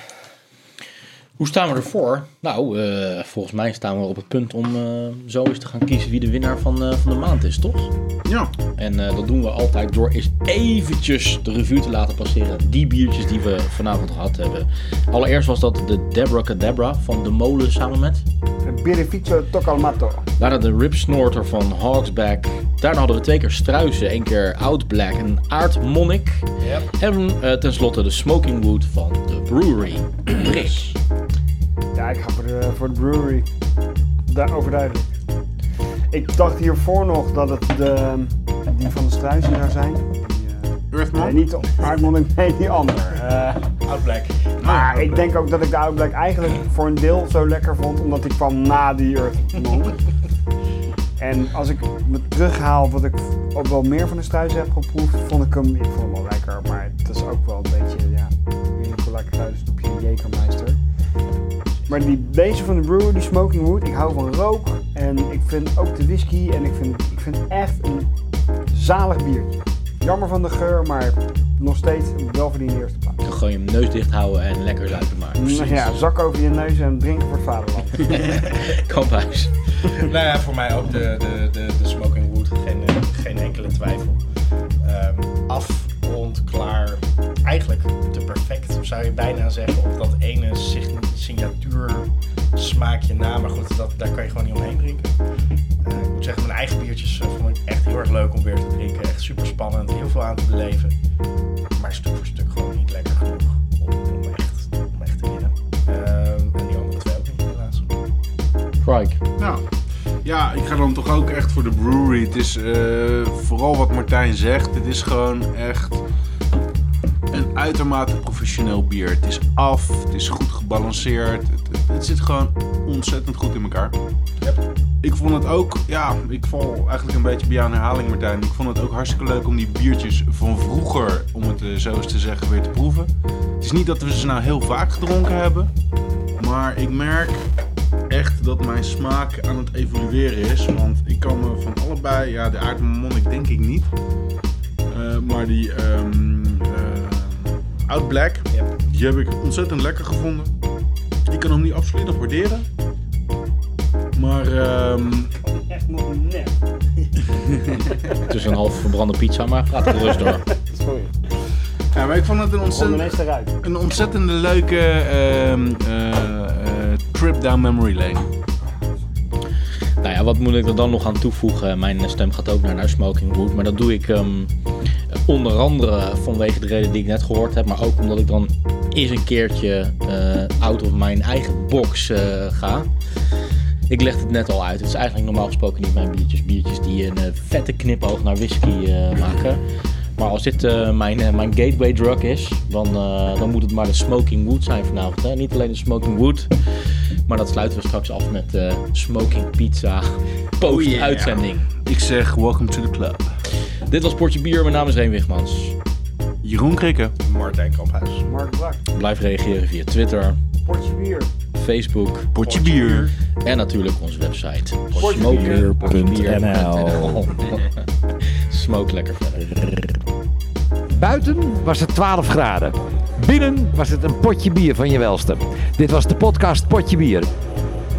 [SPEAKER 1] Hoe staan we ervoor? Nou, eh, volgens mij staan we op het punt om eh, zo eens te gaan kiezen wie de winnaar van, eh, van de maand is, toch?
[SPEAKER 5] Ja,
[SPEAKER 1] En eh, dat doen we altijd door eens eventjes de revue te laten passeren. Die biertjes die we vanavond gehad hebben. Allereerst was dat de Debra Cadabra van De Molen samen met.
[SPEAKER 2] Een Birrificio Tocalmato.
[SPEAKER 1] Daarna de Rip Snorter van Hawksback. Daarna hadden we twee keer Struisen, één keer Out Black en Aardmonnik. En eh, tenslotte de Smoking Wood van de Brewery. Brik.
[SPEAKER 2] Ja, ik ga voor de, voor de brewery. Daar, overduidelijk. Ik dacht hiervoor nog dat het de, die van de struisen zou zijn. Die, eh,
[SPEAKER 5] Earthman.
[SPEAKER 2] nee, niet de aardmonnik, nee, die ander. Eh,
[SPEAKER 3] Out Black.
[SPEAKER 2] maar ik denk ook dat ik de Out Black eigenlijk voor een deel zo lekker vond, omdat die kwam na die Earthmonk. En als ik me terughaal wat ik ook wel meer van de struis heb geproefd, vond ik hem, ik vond hem wel lekker. Maar het is ook wel een beetje, ja, jullie lekker thuis op je Jekermeister. Maar die, deze van de brewer, die Smoking Wood, ik hou van rook. En ik vind ook de whisky en ik vind, ik vind het echt een zalig biertje. Jammer van de geur, maar nog steeds een welverdiende eerste plaats.
[SPEAKER 1] Dan gewoon je neus dicht houden en lekker zuipen maken.
[SPEAKER 2] Nou Ja, zak over je neus en drinken voor het vaderland.
[SPEAKER 1] Kamphuis.
[SPEAKER 3] Nou ja, voor mij ook de, de, de, de Smoking Wood, geen, eh, geen enkele twijfel. Ehm af, rond, klaar, eigenlijk te perfect zou je bijna zeggen op dat ene sig- signatuur smaakje na. Maar goed, dat, daar kan je gewoon niet omheen drinken. Eh, ik moet zeggen, mijn eigen biertjes eh, vond ik echt heel erg leuk om weer te drinken. Echt super spannend, heel veel aan te beleven. Maar stuk voor stuk gewoon niet lekker genoeg om, om, echt, om echt te winnen. Ehm, en die andere twee ook niet helaas.
[SPEAKER 1] Crike.
[SPEAKER 5] Nou, ja, ik ga dan toch ook echt voor de brewery. Het is eh, vooral wat Martijn zegt. Het is gewoon echt een uitermate professioneel bier. Het is af, het is goed gebalanceerd. Het, het- het zit gewoon ontzettend goed in elkaar. Ik vond het ook, ja, ik val eigenlijk een beetje bij jou in herhaling Martijn. Ik vond het ook hartstikke leuk om die biertjes van vroeger, om het eh, zo eens te zeggen, weer te proeven. Het is niet dat we ze nou heel vaak gedronken hebben. Maar ik merk echt dat mijn smaak aan het evolueren is. Want ik kan me van allebei, ja, de aardmonnik denk ik niet. Eh, maar die ehm eh, Oud Black,
[SPEAKER 3] Ja.
[SPEAKER 5] die heb ik ontzettend lekker gevonden. Ik kan hem niet absoluut nog waarderen. Maar ehm,
[SPEAKER 2] Echt nog net.
[SPEAKER 1] Het is een half verbrande pizza, maar gaat er rust door.
[SPEAKER 2] Sorry.
[SPEAKER 5] ja, maar ik vond het een
[SPEAKER 2] Kom
[SPEAKER 5] ontzettend...
[SPEAKER 2] ineens eruit.
[SPEAKER 5] een ontzettende leuke ehm, eh, eh, trip down memory lane.
[SPEAKER 1] Nou ja, wat moet ik er dan nog aan toevoegen? Mijn stem gaat ook naar, naar Smoking Wood. Maar dat doe ik ehm, onder andere vanwege de reden die ik net gehoord heb. Maar ook omdat ik dan eens een keertje eh, out of mijn eigen box eh, ga. Ik leg het net al uit. Het is eigenlijk normaal gesproken niet mijn biertjes. Biertjes die een eh, vette knipoog naar whisky eh, maken. Maar als dit eh, mijn, eh, mijn gateway drug is, dan, eh, dan moet het maar de Smoking Wood zijn vanavond. Hè? Niet alleen de Smoking Wood, maar dat sluiten we straks af met eh, Smoking Pizza post-uitzending.
[SPEAKER 5] Oh, Ik zeg welcome to the club.
[SPEAKER 1] Dit was Portje Bier, mijn naam is Reen Wigmans.
[SPEAKER 5] Jeroen Krikke.
[SPEAKER 3] Martijn Kamphuis.
[SPEAKER 2] Mark Brak.
[SPEAKER 1] Blijf reageren via Twitter,
[SPEAKER 2] Potje bier.
[SPEAKER 1] Facebook
[SPEAKER 5] Potje bier.
[SPEAKER 1] en natuurlijk onze website.
[SPEAKER 2] Portjebier.nl.
[SPEAKER 1] Portjebier.nl. Smoke lekker verder.
[SPEAKER 6] Buiten was het 12 graden. Binnen was het een potje bier van je welste. Dit was de podcast Potje Bier.